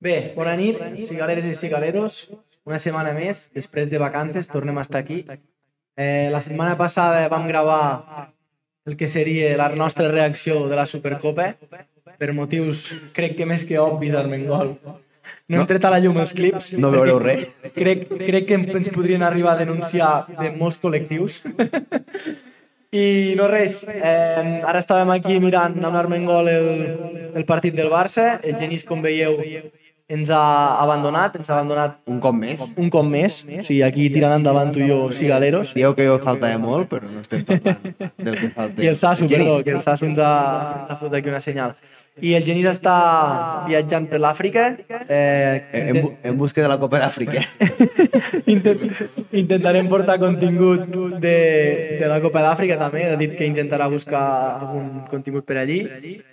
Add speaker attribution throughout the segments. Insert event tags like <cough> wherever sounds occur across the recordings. Speaker 1: Bé, bona nit, cigaleres i cigaleros. Una setmana més, després de vacances, tornem a estar aquí. Eh, la setmana passada vam gravar el que seria la nostra reacció de la Supercopa, per motius, crec que més que obvis, Armengol. No hem tret a la llum els clips.
Speaker 2: No
Speaker 1: perquè
Speaker 2: veureu res.
Speaker 1: Crec, crec que ens podrien arribar a denunciar de molts col·lectius. I no res, eh, ara estàvem aquí mirant amb l'Armengol el, el partit del Barça, el Genís, com veieu, ens ha abandonat, ens ha abandonat
Speaker 2: Un cop més.
Speaker 1: un cop més, o sigui, aquí tirant endavant tu i jo cigaleros,
Speaker 2: Dieu que jo falta de molt, però no estem parlant del que falta.
Speaker 1: <laughs> i el Sasu,
Speaker 2: Genís.
Speaker 1: perdó, que el Sasu ens ha, ens ha fotut aquí una senyal. I el Genís està viatjant per l'Àfrica, eh,
Speaker 2: En, en, bu- en busca de la Copa
Speaker 1: <laughs>
Speaker 2: d'Àfrica.
Speaker 1: Intent, intentarem portar contingut de, de la Copa d'Àfrica també, ha dit que intentarà buscar algun contingut per allí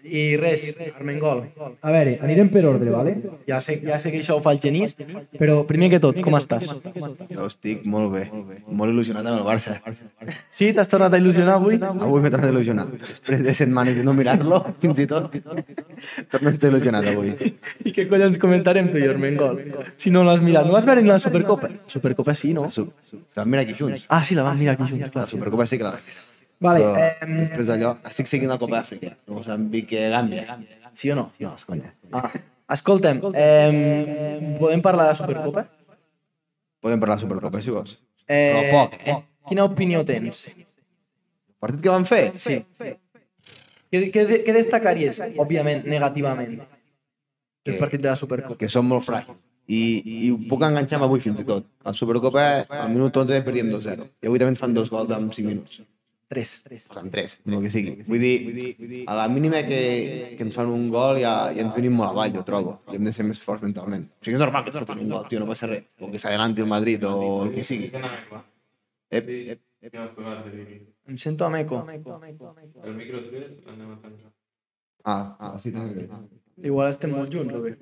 Speaker 1: i res, Armengol
Speaker 3: A veure, anirem per ordre, vale?
Speaker 1: ja sé, ja sé que això ho fa el Genís però primer que tot, com estàs?
Speaker 2: Jo estic molt bé, molt il·lusionat amb el Barça.
Speaker 1: Sí, t'has tornat a il·lusionar avui?
Speaker 2: Avui m'he tornat a il·lusionar. Després de setmanes de no mirar-lo, <laughs> fins i tot, torno a estar il·lusionat avui.
Speaker 1: I què collons comentarem tu i Armengol? Si no l'has mirat, no vas veure ni la Supercopa? Supercopa sí, no?
Speaker 2: Su- Se van mirar aquí junts.
Speaker 1: Ah, sí, la vam mirar aquí junts,
Speaker 2: La
Speaker 1: clar.
Speaker 2: Supercopa sí que la vaig mirar.
Speaker 1: Vale,
Speaker 2: Però
Speaker 1: eh,
Speaker 2: després d'allò, estic seguint la Copa d'Àfrica. Moçambique, Gàmbia.
Speaker 1: sí o no?
Speaker 2: No, és conya.
Speaker 1: Ah, escolta'm, eh, podem parlar de la Supercopa?
Speaker 2: Podem parlar de Supercopa, si vols. Però
Speaker 1: Eh,
Speaker 2: poc, eh?
Speaker 1: Quina opinió tens?
Speaker 2: El partit que van fer?
Speaker 1: Sí. Què, què, què destacaries, òbviament, negativament, del
Speaker 2: Que-
Speaker 1: partit de la Supercopa?
Speaker 2: que són molt fràgils. I, i ho puc enganxar amb avui fins i tot. A la Supercopa, al minut 11 perdíem 2-0. I avui també ens fan dos gols en 5 minuts.
Speaker 1: Tres.
Speaker 2: O en 3, el que sigui. Vull dir, a la mínima que, que ens fan un gol ja, ja ens venim molt avall, jo trobo. I hem de ser més forts mentalment. O sigui, és normal que ens fotin un gol, tio, no passa res. O que s'adelanti el Madrid o el que sigui. Ep, ep.
Speaker 1: Em sento amb eco.
Speaker 4: El micro 3 anem a tancar.
Speaker 2: Ah, ah, sí, també.
Speaker 1: Igual estem molt junts, o bé?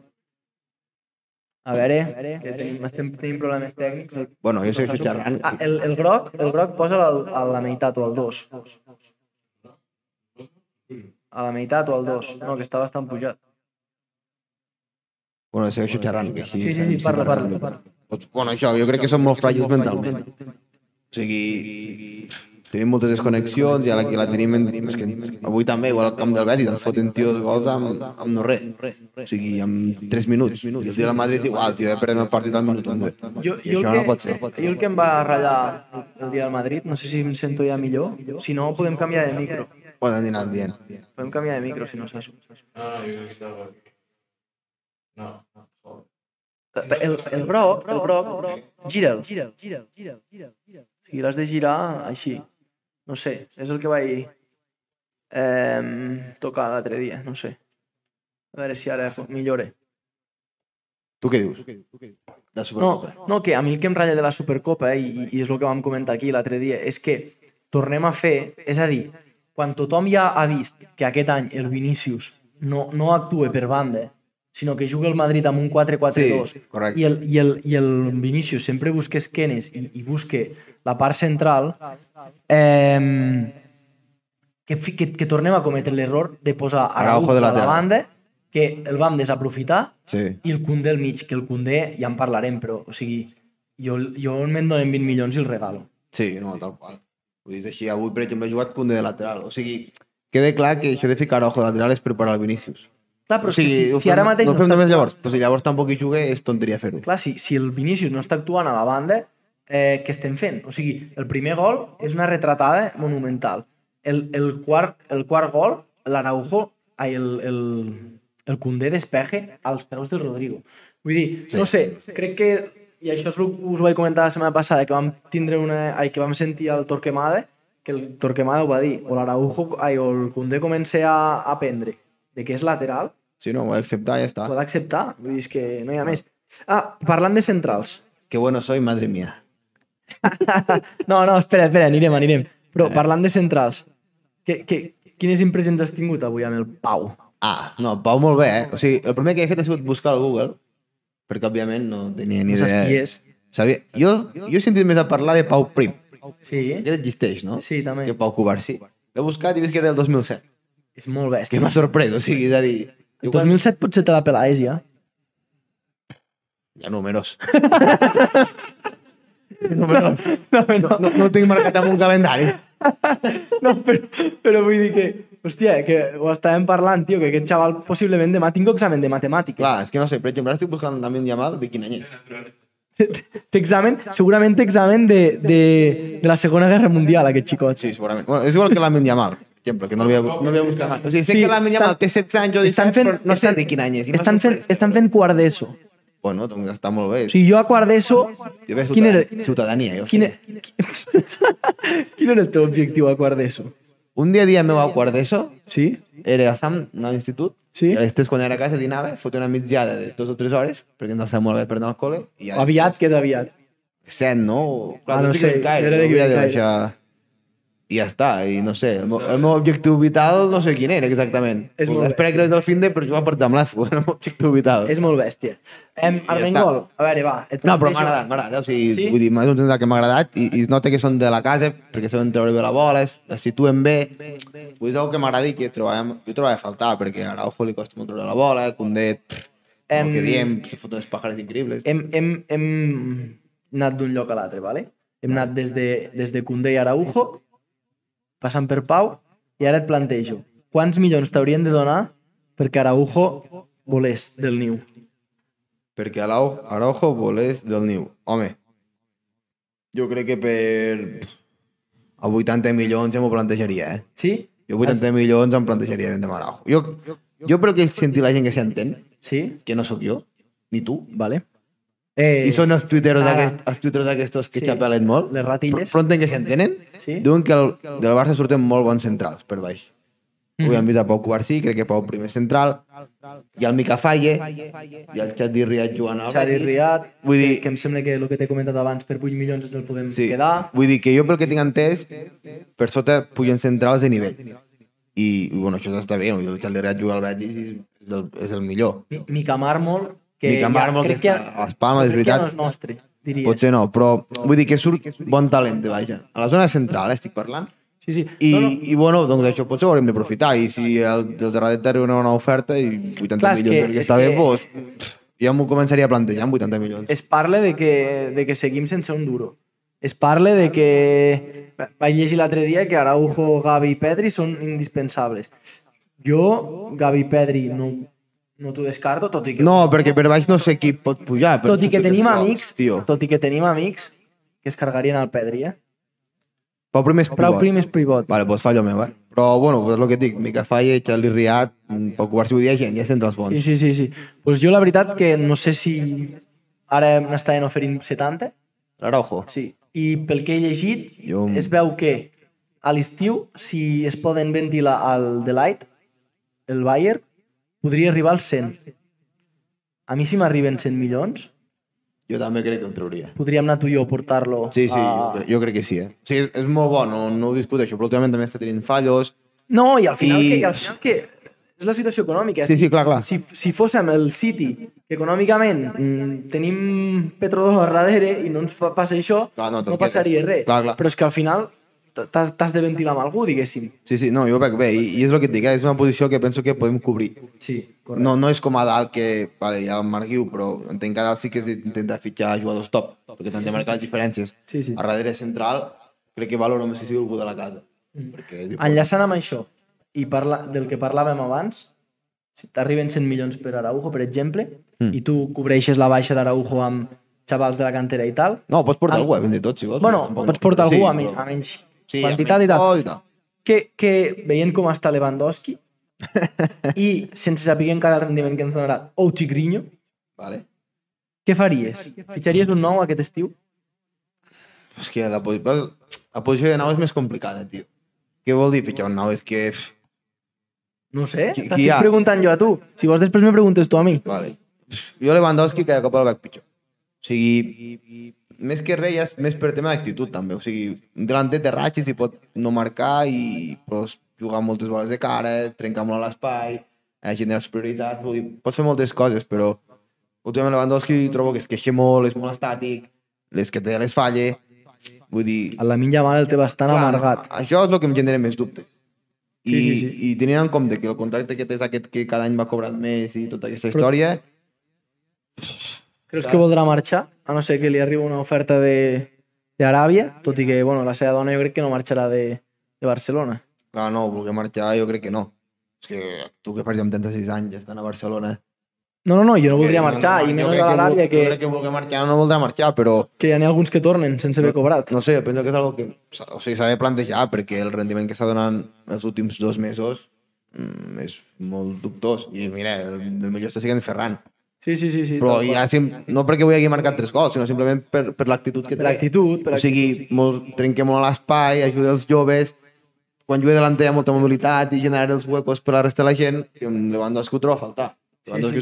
Speaker 1: A veure, que tenim, estem, tenim problemes tècnics. El,
Speaker 2: Bueno, jo segueixo xerrant.
Speaker 1: ah, el, el groc, el groc posa al, a la meitat o al dos. A la meitat o al dos. No, que està bastant pujat.
Speaker 2: Bueno, segueixo xerrant, que així...
Speaker 1: Sí, sí, sí,
Speaker 2: així
Speaker 1: parla,
Speaker 2: parlem.
Speaker 1: parla,
Speaker 2: Doncs, Bueno, això, jo crec que som molt fràgils mentalment. O sigui, tenim moltes desconnexions i ara que la tenim... En, és que avui també, igual al camp del Betis, ens foten tios gols amb, amb no res. O sigui, amb 3 minuts. I el dia del Madrid igual, tio, eh, perdem el partit al minut 11.
Speaker 1: Jo,
Speaker 2: I
Speaker 1: jo, el
Speaker 2: això
Speaker 1: que,
Speaker 2: no pot ser.
Speaker 1: jo el que em va ratllar el, el dia del Madrid, no sé si em sento ja millor, si no podem canviar de micro.
Speaker 2: Poden anar dient.
Speaker 1: Podem canviar de micro si no saps.
Speaker 4: No, no, jo crec que estava aquí. No, no, joder.
Speaker 1: El, el groc, el groc, gira'l. Gira'l, gira'l, gira'l, gira'l, gira'l. O sigui, l'has de girar així. No sé, és el que vaig eh, tocar l'altre dia, no sé. A veure si ara fo- millore.
Speaker 2: Tu què dius? De
Speaker 1: No,
Speaker 2: Supercopa.
Speaker 1: no, que a mi el que em ratlla de la Supercopa, eh, i, i és el que vam comentar aquí l'altre dia, és que tornem a fer, és a dir, quan tothom ja ha vist que aquest any el Vinícius no, no actua per banda, sinó que juga el Madrid amb un 4-4-2,
Speaker 2: Sí, correcte.
Speaker 1: i el, i el, i el Vinícius sempre busca esquenes i, i busca la part central, eh, que, fi- que, que tornem a cometre l'error de posar
Speaker 2: Araujo
Speaker 1: Araujo
Speaker 2: de
Speaker 1: a la
Speaker 2: lateral.
Speaker 1: banda, que el vam desaprofitar
Speaker 2: Sí.
Speaker 1: i el Cundé al mig, que el Cundé ja en parlarem, però, o sigui, jo, jo me'n donen 20 milions i el regalo.
Speaker 2: Sí, no, tal qual. Vull dir, és així, avui, per exemple, he jugat Cundé de lateral. O sigui, queda clar que això de ficar Araujo de lateral és preparar el Vinícius.
Speaker 1: Clar, però
Speaker 2: o
Speaker 1: és
Speaker 2: sigui,
Speaker 1: Ah, que
Speaker 2: ho
Speaker 1: si, si
Speaker 2: fem-
Speaker 1: ara mateix
Speaker 2: No
Speaker 1: no,
Speaker 2: ho fem
Speaker 1: està...
Speaker 2: només llavors. Però Pues si llavors tampoc hi jugué, és tonteria fer-ho.
Speaker 1: Clar, si, si el Vinícius no està actuant a la banda, eh, què estem fent? O sigui, el primer gol és una retratada monumental. El, el, quart, el quart gol, l'Araujo, ai, el, el, el Cundé despeje als peus de Rodrigo. Vull dir,
Speaker 2: Sí.
Speaker 1: no sé, crec que i això és el que us vaig comentar la setmana passada, que vam tindre una... Ai, que vam sentir el Torquemada, que el Torquemada ho va dir, o l'Araujo, ai, o el Condé comença a aprendre de que és lateral,
Speaker 2: Si no, ho he d'acceptar, ja està.
Speaker 1: ho ha d'acceptar, vull dir, és que no hi ha més. Ah, parlant de centrals.
Speaker 2: Que bueno soy, madre mía.
Speaker 1: No, no, espera, espera, anirem, anirem. Però parlant de centrals, que, que, quines impressions has tingut avui amb el Pau?
Speaker 2: Ah, no, Pau molt bé, eh? O sigui, el primer que he fet ha sigut buscar al Google, perquè, òbviament, no tenia ni
Speaker 1: No saps
Speaker 2: idea. eh.
Speaker 1: qui és?
Speaker 2: Sabia... Jo, jo he sentit més a parlar de Pau Prim.
Speaker 1: Sí,
Speaker 2: Aquest existeix, no?
Speaker 1: sí, també.
Speaker 2: Que Pau Covarsí. L'he buscat i he vist que era del 2007.
Speaker 1: És molt
Speaker 2: Que
Speaker 1: bèstia.
Speaker 2: m'ha sorprès, o sigui, és a dir...
Speaker 1: El 2007 potser te la pelaves ja. <laughs>
Speaker 2: Hi ha números. <laughs> números.
Speaker 1: No, no,
Speaker 2: No, no, no ho tinc marcat amb un calendari.
Speaker 1: No, però, però vull dir que... Hòstia, que ho estàvem parlant, tio, que aquest xaval possiblement demà tinc examen de matemàtiques.
Speaker 2: Clar, és que no sé, per exemple, ara estic buscant també un Yamal de quin any és.
Speaker 1: Té examen, segurament té examen de, de, de la Segona Guerra Mundial, aquest xicot.
Speaker 2: Sí, segurament. Bueno, és igual que l'Amin Yamal, per exemple, que no l'havia no l'havia buscat mai. O sigui, sé
Speaker 1: Sí,
Speaker 2: que l'Amin Yamal
Speaker 1: estan-
Speaker 2: té 16 anys o 17, però no sé de quin any és. I m'ha
Speaker 1: Estan fent,
Speaker 2: sorprès,
Speaker 1: estan
Speaker 2: però-
Speaker 1: fent quart d'ESO.
Speaker 2: Bueno, eh. doncs està molt bé.
Speaker 1: O sigui, jo a quart d'ESO...
Speaker 2: jo veig
Speaker 1: quin
Speaker 2: ciutadania-
Speaker 1: era-
Speaker 2: Ciutadania, jo.
Speaker 1: Quin, e- <laughs> quin era el teu objectiu a quart d'ESO?
Speaker 2: Un dia a dia meu a quart d'ESO,
Speaker 1: Sí?
Speaker 2: era a Sam, anar a l'institut,
Speaker 1: Sí?
Speaker 2: i a les 3 quan era a casa dinava, fotia una mitjada de dues o tres hores, perquè ens sabia molt bé per anar al col·le, i ja
Speaker 1: Aviat, que és aviat.
Speaker 2: 7, no? O-
Speaker 1: Ah, no
Speaker 2: dic
Speaker 1: sé,
Speaker 2: en Caire,
Speaker 1: era de
Speaker 2: jo havia de
Speaker 1: Caire.
Speaker 2: baixar... I ja està, i no sé, el, meu, el meu objectiu vital no sé quin era exactament.
Speaker 1: És molt bé.
Speaker 2: Espera que no és del fin de, però jo apartar amb l'AFO, era el meu objectiu vital.
Speaker 1: És molt bèstia. Em,
Speaker 2: I ja
Speaker 1: Armengol, a veure, va. Et
Speaker 2: No, però m'ha
Speaker 1: plantejo-
Speaker 2: agradat, m'ha agradat. O sigui,
Speaker 1: Sí?
Speaker 2: sí? Vull dir, m'ha agradat que m'ha agradat i, i es nota que són de la casa perquè saben treure bé la bola, es, es situen bé. Vull dir, és una que m'agrada i que trobàvem, jo trobava a faltar perquè a Araujo li costa molt treure la bola, Condé, pff,
Speaker 1: Em-
Speaker 2: el que diem, se foten els pàjares increïbles.
Speaker 1: hem, hem, hem anat d'un lloc a l'altre, ¿vale? hem anat des de, des de Condé i Araujo, passant per Pau, i ara et plantejo, quants milions t'haurien de donar perquè Araujo volés del niu?
Speaker 2: Perquè Arau- Araujo volés del niu. Home, jo crec que per... A 80 milions ja m'ho plantejaria, eh?
Speaker 1: Sí?
Speaker 2: Jo 80 milions em plantejaria vendre amb Araujo. Jo, jo pel que senti la gent que s'entén,
Speaker 1: Sí?
Speaker 2: que no sóc jo, ni tu,
Speaker 1: Vale. Eh,
Speaker 2: I són els twitteros,
Speaker 1: Ara.
Speaker 2: aquest, els twitteros aquestos que
Speaker 1: Sí.
Speaker 2: sí. xapelen molt.
Speaker 1: Les ratilles.
Speaker 2: Però entenc que s'entenen.
Speaker 1: Sí?
Speaker 2: Diuen que el, del Barça surten molt bons centrals per baix. Mm. Avui
Speaker 1: Mhm.
Speaker 2: hem vist a Pau Covarsí, crec que Pau primer central, i el Mica Falle, i el Xavi Riat jugant al
Speaker 1: Xavi
Speaker 2: Betis.
Speaker 1: Riat,
Speaker 2: Vull dir-
Speaker 1: que em sembla que el que t'he comentat abans per 8 milions ens el podem
Speaker 2: Sí.
Speaker 1: quedar.
Speaker 2: Vull dir que jo pel que tinc entès, per sota pugen centrals de nivell. I, bueno, això està bé, el Xavi Riat juga al Betis i és el, és el millor.
Speaker 1: Mi- Mica Mármol, que
Speaker 2: Mica Mármol,
Speaker 1: crec
Speaker 2: que està a les Palmes, és
Speaker 1: crec que
Speaker 2: veritat.
Speaker 1: ja no és nostre, diria.
Speaker 2: Potser no, però vull dir que surt bon talent de vaja. A la zona central, eh, estic parlant,
Speaker 1: Sí, sí.
Speaker 2: I,
Speaker 1: No, no,
Speaker 2: i bueno, doncs això potser ho haurem d'aprofitar i si el, els darrere arriba una bona oferta i 80
Speaker 1: Clar, és
Speaker 2: milions
Speaker 1: que-
Speaker 2: perquè
Speaker 1: és
Speaker 2: està bé,
Speaker 1: que-
Speaker 2: doncs pff, ja m'ho començaria a plantejar amb 80 milions.
Speaker 1: es parla de que, de que seguim sense un duro. Es parla de que... Vaig llegir l'altre dia que Araujo, Gavi i Pedri són indispensables. Jo, Gavi i Pedri, no, no t'ho descarto, tot i que...
Speaker 2: No, perquè per baix no sé qui pot pujar. però
Speaker 1: tot i que
Speaker 2: surten
Speaker 1: tenim
Speaker 2: els gols,
Speaker 1: amics,
Speaker 2: Tio.
Speaker 1: tot i que tenim amics que es cargarien el Pedri, eh?
Speaker 2: Pau primer és
Speaker 1: Però
Speaker 2: pivot.
Speaker 1: el prim és pivot.
Speaker 2: Vale, doncs fallo meu, eh? Però, bueno, doncs el que dic, Mica Falle, Charlie Riat, mm, Pau Covarsí, vull dir, hi ha gent, ja s'entra els bons.
Speaker 1: Sí, sí, sí. sí. Pues jo la veritat que no sé si ara n'estaven oferint 70,
Speaker 2: Araujo.
Speaker 1: Sí, i pel que he llegit,
Speaker 2: Jo-
Speaker 1: es veu que a l'estiu, si es poden ventilar al Delight, el Bayer, podria arribar als 100. A mi si m'arriben 100 milions,
Speaker 2: Jo també crec que el trauria.
Speaker 1: podríem anar tu i jo a portar-lo
Speaker 2: Sí, sí, jo,
Speaker 1: a...
Speaker 2: crec, jo crec que sí, eh? Sí, és, és molt bo, no, no ho discuteixo, però últimament també està tenint fallos.
Speaker 1: No, i al final,
Speaker 2: I-
Speaker 1: que, i al final que és la situació econòmica.
Speaker 2: Sí, sí, clar, clar.
Speaker 1: Si, si fóssim el City, que econòmicament mm, tenim petrodòlar darrere i no ens fa, passa això,
Speaker 2: Clar, no, te'l
Speaker 1: no passaria
Speaker 2: quedes.
Speaker 1: res.
Speaker 2: Clar, clar.
Speaker 1: Però és que al final t'has- t'has de ventilar amb algú, diguéssim.
Speaker 2: Sí, sí, no, jo ho veig bé, i, i és el que et dic, eh? és una posició que penso que podem cobrir.
Speaker 1: Sí, correcte.
Speaker 2: No, no és com a dalt que, vale, ja el marquiu, però entenc que a dalt sí que s'intenta fitxar jugadors top, perquè t'han de marcar les diferències.
Speaker 1: Sí, sí.
Speaker 2: A darrere central, crec que valoro més si sigui algú de la casa.
Speaker 1: Mm.
Speaker 2: Perquè,
Speaker 1: Enllaçant amb això i parla, del que parlàvem abans, si t'arriben 100 milions per Araujo, per exemple,
Speaker 2: Mm.
Speaker 1: i tu cobreixes la baixa d'Araujo amb xavals de la cantera i tal,
Speaker 2: No, pots portar
Speaker 1: Ah.
Speaker 2: algú, eh, fins i tot, si vols.
Speaker 1: bueno,
Speaker 2: Tampoc
Speaker 1: pots
Speaker 2: no.
Speaker 1: portar algú a,
Speaker 2: però-
Speaker 1: men a menys
Speaker 2: Sí, a
Speaker 1: quantitat i
Speaker 2: menys
Speaker 1: tal.
Speaker 2: gol i tal.
Speaker 1: Que, que veient com està Lewandowski i sense saber encara el rendiment que ens donarà o Chigriño,
Speaker 2: Vale.
Speaker 1: què faries? Fitxaries un nou aquest estiu?
Speaker 2: És que la, posi- la posició de nau és més complicada, tio. Què vol dir fitxar un nau? És que... pff,
Speaker 1: No ho sé,
Speaker 2: Qui- qui
Speaker 1: t'estic
Speaker 2: hi ha?
Speaker 1: preguntant jo a tu. Si vols després me preguntes tu a mi.
Speaker 2: Vale. Pff, Jo Lewandowski cada cop el veig pitjor. O sigui, més que res, ja és més per tema d'actitud també. O sigui, un delanter de ratxes i pot no marcar i pots jugar moltes boles de cara, trencar molt a l'espai, eh, generar superioritat, vull dir, pots fer moltes coses, però últimament Lewandowski trobo que es queixa molt, és molt estàtic, les que té les falle, vull dir...
Speaker 1: A la minja mare el té bastant
Speaker 2: clar,
Speaker 1: amargat.
Speaker 2: Això és el que em genera més dubtes. I,
Speaker 1: Sí, sí, sí.
Speaker 2: I tenint en compte que el contracte que té és aquest que cada any va cobrant més i tota aquesta història,
Speaker 1: Creus que voldrà marxar? A no ser que li arribi una oferta de d'Aràbia, tot i que bueno, la seva dona jo crec que no marxarà de, de Barcelona.
Speaker 2: Clar, no, voler marxar jo crec que no. És que tu que fas ja amb 36 anys, estan a Barcelona.
Speaker 1: No, no, no, jo no voldria
Speaker 2: Que
Speaker 1: marxar, i
Speaker 2: jo
Speaker 1: menys
Speaker 2: crec
Speaker 1: a
Speaker 2: que
Speaker 1: l'Aràbia,
Speaker 2: vol-
Speaker 1: que,
Speaker 2: Jo crec que voler marxar no voldrà marxar, però
Speaker 1: que hi ha alguns que tornen sense haver cobrat.
Speaker 2: no sé, penso que és algo que s'ha- o sigui, s'ha de plantejar perquè el rendiment que està donant els últims dos mesos mm, és molt dubtós. I mira, el, el millor està sent Ferran.
Speaker 1: Sí, sí, sí, sí.
Speaker 2: Però
Speaker 1: tal
Speaker 2: ja, sim, no perquè avui hagi marcat tres gols, sinó simplement per, per l'actitud
Speaker 1: qual.
Speaker 2: que té.
Speaker 1: Per l'actitud, per
Speaker 2: O sigui, molt, trenquem molt l'espai, ajuda els joves, quan juga delanter hi ha molta mobilitat i generar els huecos per a la resta de la gent, i amb Lewandowski ho troba a faltar. Lewandowski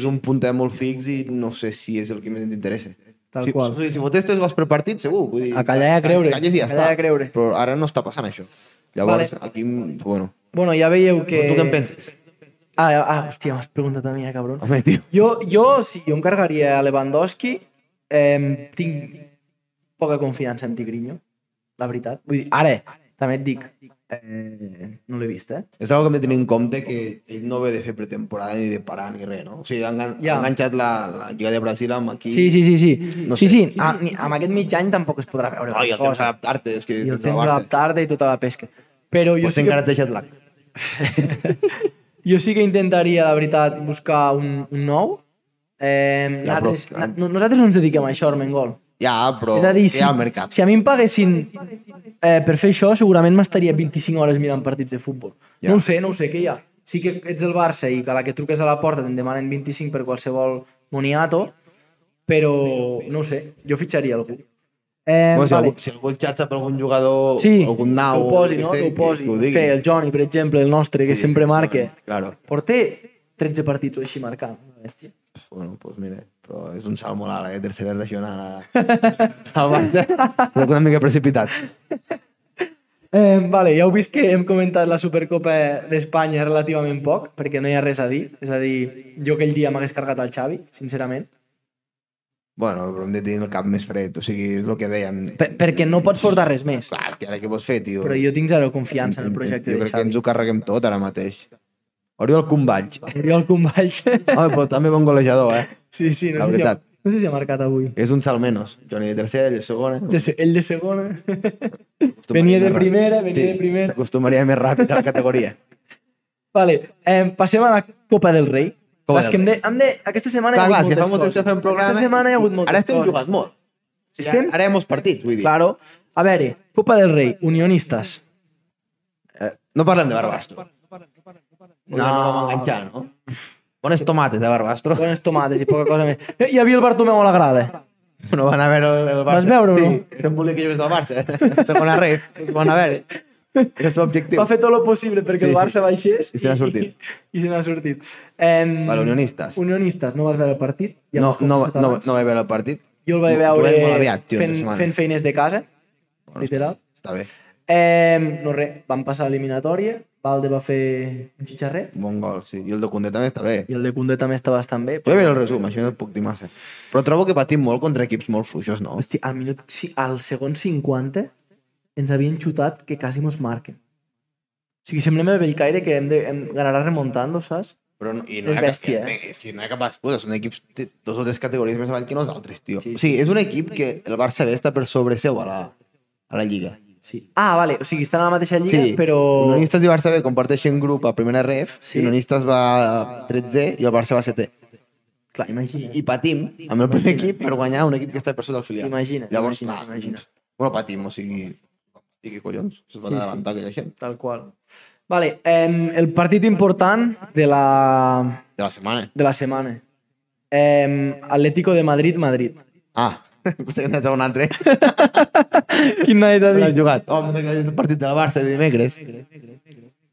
Speaker 1: sí,
Speaker 2: és un punter molt fix i no sé si és el que més ens interessa.
Speaker 1: Tal
Speaker 2: si,
Speaker 1: qual.
Speaker 2: O sigui, si fotés tres gols per partit, segur. Vull dir,
Speaker 1: A callar i a
Speaker 2: ca-
Speaker 1: creure,
Speaker 2: Calles i ja
Speaker 1: a callar i a
Speaker 2: està.
Speaker 1: creure.
Speaker 2: Però ara no està passant això. Llavors, vale. aquí, bueno,
Speaker 1: Bueno, ja veieu que...
Speaker 2: que... tu què en penses?
Speaker 1: Ah, ah hòstia, m'has preguntat a mi, eh, cabron.
Speaker 2: Home, tio.
Speaker 1: Jo, jo sí, jo em cargaria a Lewandowski. Eh, tinc poca confiança en Tigrinho, la veritat. Vull dir, ara, també et dic, eh, no l'he vist, eh?
Speaker 2: <laughs> És una que hem de tenir en compte que ell no ve de fer pretemporada ni de parar ni res, no? O sigui, ha engan
Speaker 1: Ja.
Speaker 2: yeah. enganxat la, la Lliga de Brasil amb aquí.
Speaker 1: Sí, sí, sí. sí.
Speaker 2: No
Speaker 1: No sé.
Speaker 2: sé.
Speaker 1: Sí, sí, a, ni, amb aquest mig any tampoc es podrà veure
Speaker 2: Ai, el
Speaker 1: gran
Speaker 2: temps
Speaker 1: cosa.
Speaker 2: d'adaptar-te, és que...
Speaker 1: I el temps d'adaptar-te i tota la pesca. Però jo
Speaker 2: Potser
Speaker 1: sí,
Speaker 2: encara
Speaker 1: que,
Speaker 2: té jet lag.
Speaker 1: jo sí que intentaria, la veritat, buscar un, un nou. Eh,
Speaker 2: Ja, però-
Speaker 1: nosaltres, na, no- nosaltres no ens dediquem a això, Armengol.
Speaker 2: Ja, però
Speaker 1: És a dir,
Speaker 2: hi
Speaker 1: si,
Speaker 2: ha mercat.
Speaker 1: si a mi em paguessin eh, per fer això, segurament m'estaria 25 hores mirant partits de futbol.
Speaker 2: Ja.
Speaker 1: Ja. No ho sé, no ho sé, què hi ha? Sí que ets el Barça i que a la que truques a la porta te'n demanen 25 per qualsevol moniato, però no ho sé, jo fitxaria algú. Eh,
Speaker 2: Bueno, si,
Speaker 1: vale.
Speaker 2: algú, si algú xatxa per algun jugador,
Speaker 1: Sí,
Speaker 2: algun
Speaker 1: que
Speaker 2: nau...
Speaker 1: ho posi, no?
Speaker 2: jo
Speaker 1: Que
Speaker 2: què sé,
Speaker 1: ho posi.
Speaker 2: ho
Speaker 1: No
Speaker 2: digui.
Speaker 1: sé, el Johnny, per exemple, el nostre, que
Speaker 2: Sí,
Speaker 1: sempre marca.
Speaker 2: Claro.
Speaker 1: Porter 13 partits o així marcant, una bèstia.
Speaker 2: Bueno, doncs pues mira, però és un salt molt alt, eh? Tercera regional. eh. <laughs> a- Al Barça. Però una mica precipitat.
Speaker 1: Eh, vale, ja heu vist que hem comentat la Supercopa d'Espanya relativament poc, perquè no hi ha res a dir. És a dir, jo aquell dia m'hagués cargat el Xavi, sincerament.
Speaker 2: Bueno, però hem de tenir el cap més fred, o sigui, és el que dèiem.
Speaker 1: Per, perquè no pots portar res més.
Speaker 2: Clar, és que ara què vols fer, tio?
Speaker 1: Però jo tinc zero confiança en el
Speaker 2: jo
Speaker 1: projecte de
Speaker 2: crec que ens
Speaker 1: Xavi.
Speaker 2: ho carreguem tot ara mateix. Oriol Comballs.
Speaker 1: Oriol <laughs> Comballs.
Speaker 2: Home, però també bon golejador, eh?
Speaker 1: sí, sí, no
Speaker 2: La
Speaker 1: sé, si ha,
Speaker 2: veritat.
Speaker 1: no sé si ha marcat avui.
Speaker 2: És un salt menys. Johnny de tercera, ell de segona.
Speaker 1: De se, ell de segona.
Speaker 2: Acostumaria
Speaker 1: venia de
Speaker 2: més ràpid.
Speaker 1: primera, venia de primera.
Speaker 2: S'acostumaria més ràpid a la categoria.
Speaker 1: vale, eh, passem a la Copa del Rei.
Speaker 2: Copa
Speaker 1: Clar, és
Speaker 2: del
Speaker 1: que hem de, hem de, aquesta setmana hi
Speaker 2: Clar,
Speaker 1: ha
Speaker 2: clar,
Speaker 1: hagut
Speaker 2: si fa
Speaker 1: moltes
Speaker 2: molt temps que
Speaker 1: coses.
Speaker 2: fem programa...
Speaker 1: Aquesta setmana hi ha hagut
Speaker 2: i
Speaker 1: moltes
Speaker 2: Ara estem
Speaker 1: coses.
Speaker 2: jugant molt. O sigui,
Speaker 1: Estem-
Speaker 2: Ara hi ha molts partits, vull dir.
Speaker 1: Claro. A veure, Copa del Rei, unionistes.
Speaker 2: Eh, no parlem de Barbastro. No, no, no vam enganxar, no? Bones tomates de Barbastro. <laughs>
Speaker 1: Bones tomates i poca cosa més. Eh, Hi havia el Bartomeu eh? a la grada.
Speaker 2: No van a veure el, el Barça.
Speaker 1: Vas veure o
Speaker 2: sí,
Speaker 1: no?
Speaker 2: era un bolic que jugués del Barça. <laughs> Segona ref, es van a veure. És el seu objectiu.
Speaker 1: Va fer tot el possible perquè
Speaker 2: Sí,
Speaker 1: el
Speaker 2: sí.
Speaker 1: Barça baixés.
Speaker 2: I se n'ha sortit.
Speaker 1: <laughs> I, se n'ha sortit. Em,
Speaker 2: Vale, unionistes.
Speaker 1: Unionistes, no vas veure el partit? Ja
Speaker 2: No,
Speaker 1: m'has
Speaker 2: no,
Speaker 1: contestat
Speaker 2: no,
Speaker 1: abans.
Speaker 2: no vaig veure el partit.
Speaker 1: Jo el vaig
Speaker 2: Juguem
Speaker 1: veure
Speaker 2: molt aviat, tio,
Speaker 1: fent,
Speaker 2: entre setmana.
Speaker 1: fent feines de casa,
Speaker 2: Bueno,
Speaker 1: literal.
Speaker 2: Està bé.
Speaker 1: Eh, no res, van passar a l'eliminatòria, Valde va fer un xitxarret
Speaker 2: Bon gol, sí. I el de Condé també està bé.
Speaker 1: i el de Condé també està bastant bé.
Speaker 2: Jo veure el resum, això no et puc dir massa. Però trobo que patim molt contra equips molt fluixos, no?
Speaker 1: Hosti, al, minut, ci- al segon 50 ens havien xutat que quasi mos marquen. O sigui, semblem el Bellcaire que hem de, hem, ganarà remuntant, saps?
Speaker 2: Però no, i
Speaker 1: És
Speaker 2: hi ha cap-
Speaker 1: bèstia, eh?
Speaker 2: És que no hi ha cap excusa, són equips de dos o tres categories més avall que nosaltres, tio.
Speaker 1: Sí,
Speaker 2: Sí,
Speaker 1: sí,
Speaker 2: o sigui, és un equip que el Barça B està per sobre seu a la, a la Lliga.
Speaker 1: Sí. Ah, vale, o sigui, estan a la mateixa lliga, sí. però...
Speaker 2: Unionistes i Barça B comparteixen grup a primera ref,
Speaker 1: Sí.
Speaker 2: sí. Unionistes va a 13 i el Barça va a 7
Speaker 1: Clar, imagina't.
Speaker 2: I patim amb el primer equip per guanyar un equip que està per sota del filial.
Speaker 1: Imagina't,
Speaker 2: Llavors,
Speaker 1: imagina't,
Speaker 2: clar, doncs,
Speaker 1: imagina't.
Speaker 2: Bueno, patim, o sigui... I què collons? Es
Speaker 1: Sí,
Speaker 2: va
Speaker 1: sí.
Speaker 2: sí, adelantar aquella gent.
Speaker 1: Tal qual. Vale, eh, el partit important de la,
Speaker 2: De la setmana.
Speaker 1: de la setmana. Eh, Atlético de Madrid-Madrid.
Speaker 2: Ah, <laughs> potser que n'hi ha un altre.
Speaker 1: <laughs> Quin és a
Speaker 2: No l'has
Speaker 1: dir?
Speaker 2: jugat. Oh, pensava que és el partit del Barça de dimecres.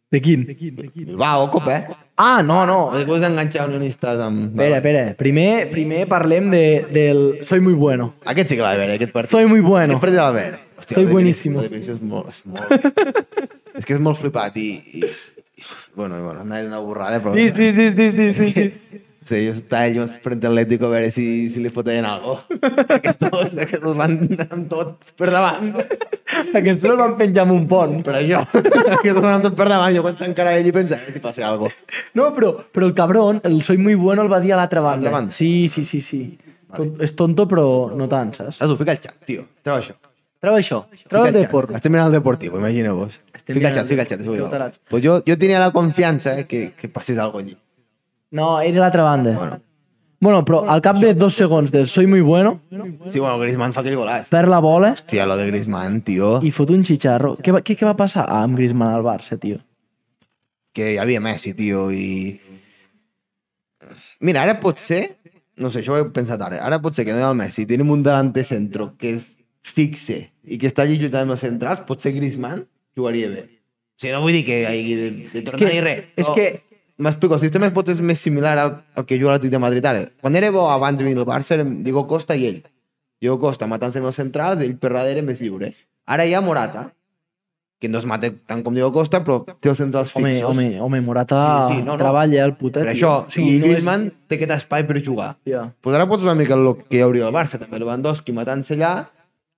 Speaker 1: De quin?
Speaker 2: Bilbao, copa, eh?
Speaker 1: Ah, no, no.
Speaker 2: Algú has d'enganxar unionistes amb...
Speaker 1: Espera, espera. Primer, primer parlem de, del Soy muy bueno.
Speaker 2: Aquest sí que la veure, aquest partit.
Speaker 1: Soy muy bueno.
Speaker 2: Aquest partit la veure.
Speaker 1: Soy
Speaker 2: la definició-
Speaker 1: buenísimo.
Speaker 2: La definició és molt... És, molt... és que és molt flipat i... i... i- Bueno, i bueno, anava una borrada, però...
Speaker 1: Dis, dis, dis, dis, dis, dis, <laughs> dis.
Speaker 2: Sí, ellos está ellos frente al Atlético a veure si, si li foten algo. <laughs> Aquestos, aquestos van amb tot per davant.
Speaker 1: Aquests el van penjar amb un pont.
Speaker 2: Per <laughs> això. Aquestos van amb tot per davant. Jo quan s'encara ell i pensa, eh, si passa algo.
Speaker 1: No, però, però el cabrón, el Soy muy bueno el va dir a l'altra banda.
Speaker 2: L'altra banda.
Speaker 1: Sí, sí, sí, sí. Tot, és tonto, però no tant, saps?
Speaker 2: Saps? Ho fica al xat, tio. Treu això.
Speaker 1: Treu això, treu
Speaker 2: Fica
Speaker 1: el
Speaker 2: al
Speaker 1: de
Speaker 2: xat.
Speaker 1: porno.
Speaker 2: Estem mirant el deportivo, imagineu-vos.
Speaker 1: Estem
Speaker 2: Fica al
Speaker 1: mirant-
Speaker 2: xat, fica al xat.
Speaker 1: esteu
Speaker 2: fica al xat.
Speaker 1: tarats.
Speaker 2: Pues jo, jo tenia la confiança eh, que, que passés alguna cosa allí.
Speaker 1: No, era l'altra banda.
Speaker 2: Bueno.
Speaker 1: Bueno. bueno, però al cap de dos segons del soy muy bueno,
Speaker 2: Sí, bueno, Griezmann fa aquell golaç.
Speaker 1: perd la bola
Speaker 2: Hòstia, lo de Griezmann, tio,
Speaker 1: i fot un xicharro. Què va, què, què va passar amb Griezmann al Barça, tio?
Speaker 2: que hi havia Messi, tio, i... Mira, ara pot ser, no sé, això ho he pensat ara, ara pot ser que no hi ha el Messi, tenim un delante centro que és fixe i que està allí lluitant amb els centrals, potser Griezmann jugaria bé. O sigui, no vull dir que hagi de, de tornar
Speaker 1: que-
Speaker 2: ni res.
Speaker 1: és
Speaker 2: però
Speaker 1: que-
Speaker 2: M'explico, el sistema pot ser més similar al, al que juga l'Atlètic de Madrid ara. Quan era bo abans de venir al Barça, érem Diego Costa i ell. Diego Costa matant-se amb els centrals, ell per darrere més lliure. Ara hi ha Morata, que no es mata tant com Diego Costa, però té els centrals
Speaker 1: Home,
Speaker 2: fixos.
Speaker 1: home, home, Morata
Speaker 2: Sí, sí, no, no.
Speaker 1: treballa el putet.
Speaker 2: Per
Speaker 1: tio.
Speaker 2: això,
Speaker 1: O
Speaker 2: sí,
Speaker 1: sigui,
Speaker 2: i
Speaker 1: no és-
Speaker 2: Griezmann té aquest espai per jugar.
Speaker 1: Hòstia.
Speaker 2: Pues ara pots una mica el que hi hauria al Barça, també Lewandowski matant-se allà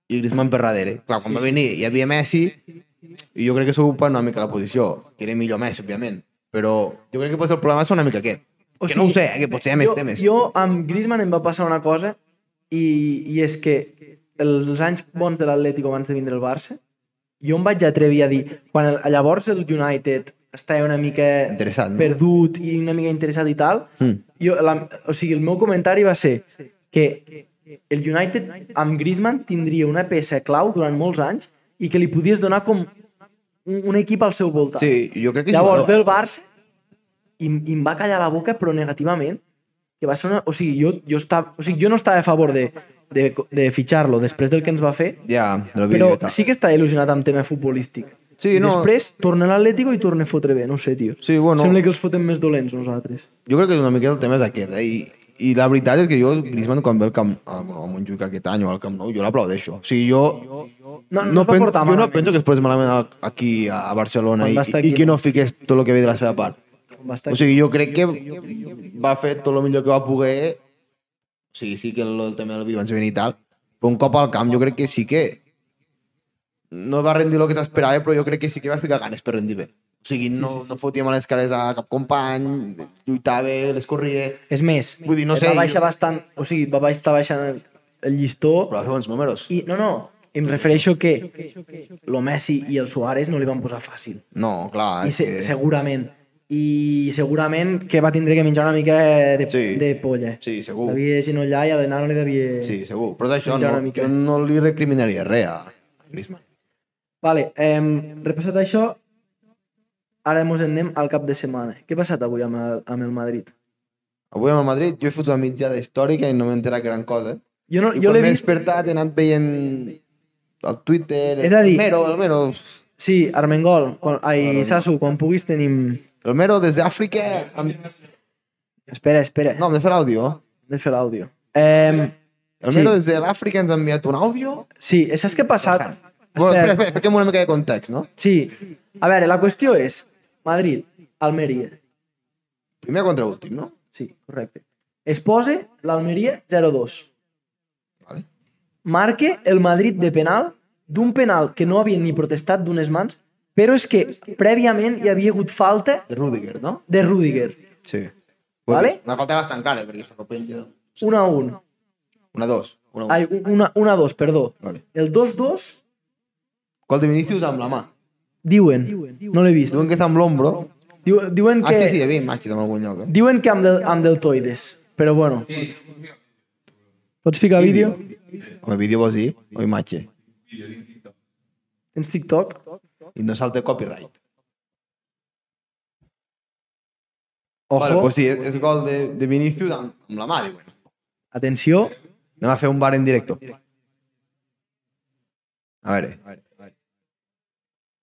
Speaker 2: i Griezmann eh. per darrere. Clar, quan sí, va venir hi havia Messi i jo crec que s'ocupa una mica la posició, que era millor Messi, òbviament, però jo crec que pot ser el problema és una mica aquest.
Speaker 1: O
Speaker 2: que no ho sé, eh, que potser hi ha més
Speaker 1: jo,
Speaker 2: temes.
Speaker 1: Jo amb Griezmann em va passar una cosa i, i és que els anys bons de l'Atlético abans de vindre al Barça, jo em vaig atrevir a dir, quan el, llavors el United estava una mica
Speaker 2: Interessat, no?
Speaker 1: perdut i una mica interessat i tal,
Speaker 2: Mm.
Speaker 1: jo, la, o sigui, el meu comentari va ser que el United amb Griezmann tindria una peça clau durant molts anys i que li podies donar com un, un equip al seu voltant.
Speaker 2: Sí, jo crec que...
Speaker 1: Llavors ve
Speaker 2: jugador-
Speaker 1: el Barça i, em- i em va callar la boca, però negativament. Que va ser una... O sigui, jo, jo, estava, o sigui, jo no estava a favor de, de, de fitxar-lo després del que ens va fer,
Speaker 2: Ja, del vídeo
Speaker 1: però
Speaker 2: i tal.
Speaker 1: sí que està il·lusionat amb tema futbolístic.
Speaker 2: Sí,
Speaker 1: I
Speaker 2: no.
Speaker 1: Després torna a l'Atlético i torna a fotre bé, no ho sé, tio.
Speaker 2: Sí, bueno.
Speaker 1: Sembla que els fotem més dolents nosaltres.
Speaker 2: jo crec que una mica el tema és aquest, eh? I, i la veritat és que jo, Griezmann, quan ve el camp, a, a Montjuïc aquest any o al Camp Nou, jo l'aplaudeixo. O sigui, jo...
Speaker 1: No, no, no es va
Speaker 2: pen-
Speaker 1: portar
Speaker 2: jo no
Speaker 1: malament.
Speaker 2: penso que es portés malament al- aquí a, a Barcelona
Speaker 1: Quan
Speaker 2: i,
Speaker 1: va estar
Speaker 2: i,
Speaker 1: aquí,
Speaker 2: que
Speaker 1: no.
Speaker 2: no fiqués tot el que ve de la seva part.
Speaker 1: Va estar
Speaker 2: O sigui, jo crec que va fer tot el millor que va poder. O sigui, sí que el, el tema del vídeo van venir i tal. Però un cop al camp jo crec que sí que no va rendir el que s'esperava, però jo crec que sí que va ficar ganes per rendir bé. O sigui, no, sí, sí, sí. no fotia males cares a cap company, lluitava, les corria...
Speaker 1: És més,
Speaker 2: Vull dir, no sé,
Speaker 1: va baixar
Speaker 2: jo-
Speaker 1: bastant... O sigui, va baix- està baixant el, el llistó
Speaker 2: Però va fer bons números.
Speaker 1: i... No, no, em refereixo que lo Messi i el Suárez no li van posar fàcil.
Speaker 2: No,
Speaker 1: I
Speaker 2: clar, Ah, és
Speaker 1: se,
Speaker 2: que...
Speaker 1: segurament. I segurament que va tindre que menjar una mica de,
Speaker 2: Sí.
Speaker 1: sí. de polla.
Speaker 2: Sí, segur.
Speaker 1: Devia genollar i a l'enano li devia...
Speaker 2: Sí, segur. Però d'això
Speaker 1: Menjar
Speaker 2: no,
Speaker 1: una mica.
Speaker 2: jo no li recriminaria res a Griezmann.
Speaker 1: Vale, eh, repassat això, ara mos en anem al cap de setmana. Què ha passat avui amb el, amb el Madrid?
Speaker 2: Avui amb el Madrid jo he fet una mitjada històrica i no m'he enterat gran cosa.
Speaker 1: Jo, no,
Speaker 2: I
Speaker 1: jo
Speaker 2: quan
Speaker 1: l'he
Speaker 2: m'he
Speaker 1: vist...
Speaker 2: despertat he anat veient el Twitter,
Speaker 1: És a dir-
Speaker 2: el Mero, el Mero...
Speaker 1: Sí, Armengol, quan,
Speaker 2: Ah,
Speaker 1: ai, Sasu, quan puguis tenim...
Speaker 2: El Mero des d'Àfrica... Amb...
Speaker 1: Espera, espera,
Speaker 2: No,
Speaker 1: no.
Speaker 2: hem de fer l'àudio.
Speaker 1: de fer l'àudio. Eh,
Speaker 2: El
Speaker 1: Sí.
Speaker 2: Mero des de l'Àfrica ens ha enviat un àudio.
Speaker 1: sí, saps què ha passat?
Speaker 2: Bueno,
Speaker 1: Espera.
Speaker 2: espera, espera, fiquem una mica de context, no?
Speaker 1: Sí, a veure, la qüestió és Madrid, Almeria,
Speaker 2: Primer contra últim, no?
Speaker 1: Sí, correcte. Es posa l'Almeria 0-2.
Speaker 2: Vale.
Speaker 1: Marque el Madrid de penal, d'un penal que no havien ni protestat d'unes mans, però és que prèviament hi havia hagut falta
Speaker 2: De Rudiger, no?
Speaker 1: de Rudiger.
Speaker 2: Sí.
Speaker 1: Vale.
Speaker 2: Una falta bastant clara, perquè s'arropenja.
Speaker 1: 1 a 1.
Speaker 2: Una, dos. Una, una.
Speaker 1: Ai, un- una, 1 a 2, perdó.
Speaker 2: Vale.
Speaker 1: El 2-2
Speaker 2: Gol de Vinícius amb la mà.
Speaker 1: diuen, no l'he vist,
Speaker 2: Diuen que és amb l'ombro.
Speaker 1: Diu, diuen
Speaker 2: Ah, sí, sí, hi
Speaker 1: que,
Speaker 2: havia imatges en algun lloc, eh?
Speaker 1: diuen que amb, del, amb deltoides, però bueno. Pots ficar vídeo?
Speaker 2: Home, vídeo vols dir? O imatge?
Speaker 1: Tens TikTok?
Speaker 2: I no salta copyright. Vale,
Speaker 1: Ojo,
Speaker 2: pues sí, és, és gol de, de Vinícius amb, amb la mà, diuen.
Speaker 1: atenció,
Speaker 2: Anem a fer un bar en directo. A eh, veure.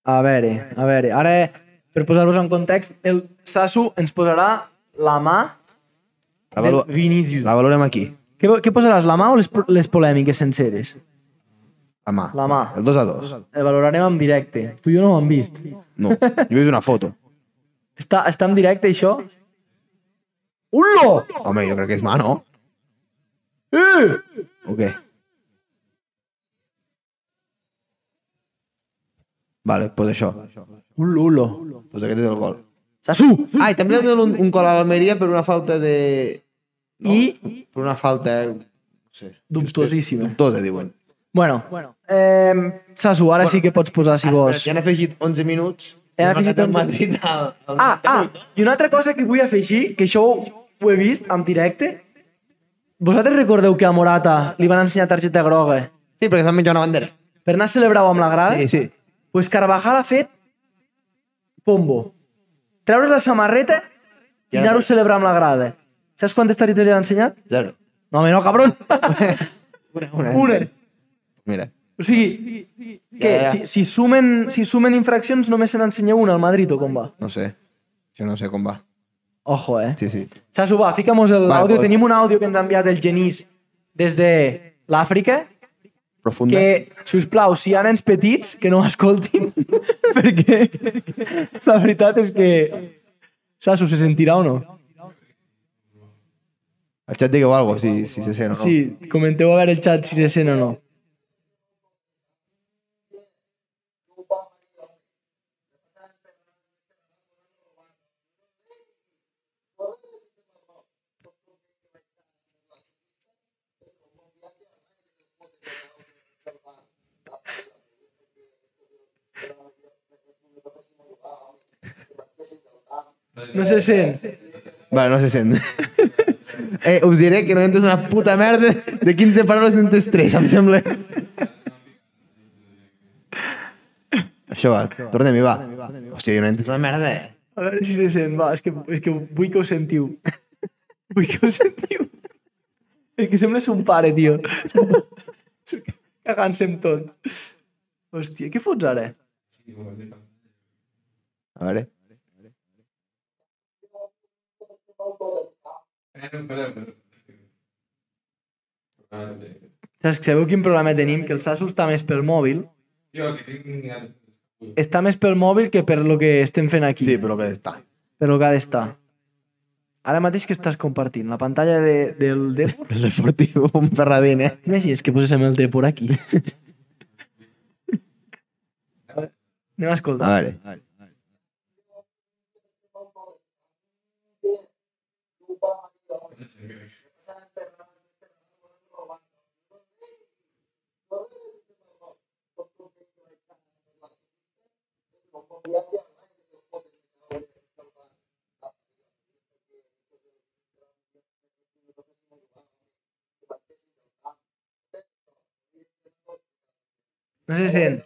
Speaker 1: A veure, a veure, ara per posar-vos en context, el Sasu ens posarà la mà
Speaker 2: La,
Speaker 1: del
Speaker 2: valo
Speaker 1: Vinicius.
Speaker 2: la valorem aquí.
Speaker 1: Què, què posaràs, la mà o les, pro- les polèmiques senceres?
Speaker 2: La mà.
Speaker 1: La mà.
Speaker 2: El 2 a 2.
Speaker 1: El valorarem en directe. Tu i jo no ho hem vist.
Speaker 2: No, jo veig una foto.
Speaker 1: Està, està en directe, això? Ullo!
Speaker 2: Home, jo crec que és mà, no?
Speaker 1: Eh!
Speaker 2: O què? Vale, doncs pues això. Doncs
Speaker 1: Ullo, ullo.
Speaker 2: pues aquest és el gol.
Speaker 1: Sasu!
Speaker 2: Ah, i també li donen un, un gol a l'Almeria per una falta eh, de...
Speaker 1: I
Speaker 2: Per una falta Sí.
Speaker 1: Dubtosíssima.
Speaker 2: Dubtosa, diuen.
Speaker 1: Bueno, eh, Sasu, ara sí que pots posar
Speaker 2: Ah,
Speaker 1: si vols.
Speaker 2: Ja han afegit 11 minuts.
Speaker 1: Ja han
Speaker 2: i
Speaker 1: afegit
Speaker 2: remat
Speaker 1: 11.
Speaker 2: el Madrid al, al <laughs>
Speaker 1: Ah, ah, i una altra cosa que vull afegir, que això ho ho he vist en directe. Vosaltres recordeu que a Morata li van ensenyar targeta groga
Speaker 2: Sí, perquè s'han menjat una bandera.
Speaker 1: per anar a celebrar amb la grada?
Speaker 2: Sí, sí.
Speaker 1: pues Carvajal ha fet combo. Treure la samarreta i
Speaker 2: Ja
Speaker 1: anar-ho
Speaker 2: no-
Speaker 1: a celebrar amb la grada. Saps quantes targetes li han ensenyat?
Speaker 2: Zero.
Speaker 1: No, home, no,
Speaker 2: <laughs>
Speaker 1: cabron!
Speaker 2: Una, una.
Speaker 1: <laughs> Una.
Speaker 2: Mira.
Speaker 1: O sigui, que
Speaker 2: Ja, ja.
Speaker 1: si, si, sumen, si sumen infraccions només se n'ensenya una al Madrid o com va?
Speaker 2: No sé. Jo no sé com va.
Speaker 1: Ojo, eh?
Speaker 2: Sí, sí.
Speaker 1: Sasu, va, fica-mos
Speaker 2: Vale,
Speaker 1: l'àudio.
Speaker 2: pues.
Speaker 1: Tenim un àudio que ens ha enviat el Genís des de l'Àfrica,
Speaker 2: Profunda.
Speaker 1: que, si us plau, si hi ha nens petits, que no escoltin, <laughs> perquè la veritat és que... Sasu, se sentirà o no?
Speaker 2: El xat digueu algo, si, si se sent o no.
Speaker 1: Sí, comenteu a veure el xat si se sent o no. No se sent.
Speaker 2: Vale, no se sent. <laughs> eh, us diré que no entes una puta merda de 15 paraules n'entes 3, em sembla. Això va, tornem-hi, va. Hòstia, jo no entes una merda, eh?
Speaker 1: A veure si se sent, va, és que, és que vull que ho
Speaker 2: <laughs>
Speaker 1: sentiu. Vull que ho sentiu. És que sembles un pare,
Speaker 2: <laughs>
Speaker 1: tio. Cagant-se amb tot. Hòstia, què fots ara?
Speaker 2: A veure.
Speaker 4: Eh,
Speaker 1: Saps, sabeu quin problema tenim? Que el Sasso està més pel mòbil. Està més pel mòbil que per lo que estem fent aquí.
Speaker 2: Sí, però que està.
Speaker 1: Per lo que ha d'estar. Ara mateix que estàs compartint? La pantalla de, del Depor?
Speaker 2: El Deportivo, un ferradín, eh?
Speaker 1: T'imagines que poséssim el Depor aquí?
Speaker 2: <laughs>
Speaker 1: Anem a escoltar.
Speaker 2: A <laughs> veure.
Speaker 1: No se sent.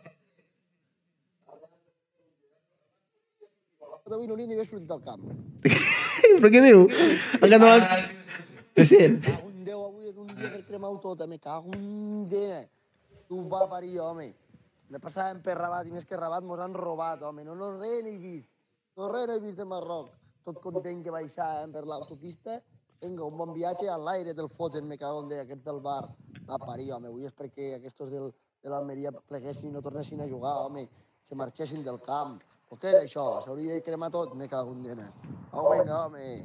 Speaker 5: Avui no li ve sortit del camp.
Speaker 2: Però què diu? En català... Se
Speaker 1: <laughs>
Speaker 2: sent?
Speaker 5: Cago en Déu, avui és un dia per cremar-ho tot, eh? me cago en Déu. eh. Tu va parir, home. De passàvem per Rabat i més que Rabat mos han robat, home. No, no, res no he vist. No, res no he vist de Marroc. Tot content que baixàvem per l'autopista. Vinga, un bon viatge a l'aire del foten, me cago en Déu, aquest del bar. Va parir, home. Avui és perquè aquests del, de l'Almeria pleguessin i no tornessin a jugar, home. Que marxessin del camp. O què era això? S'hauria de cremar tot, me cago en Déu. eh. Au, vinga, home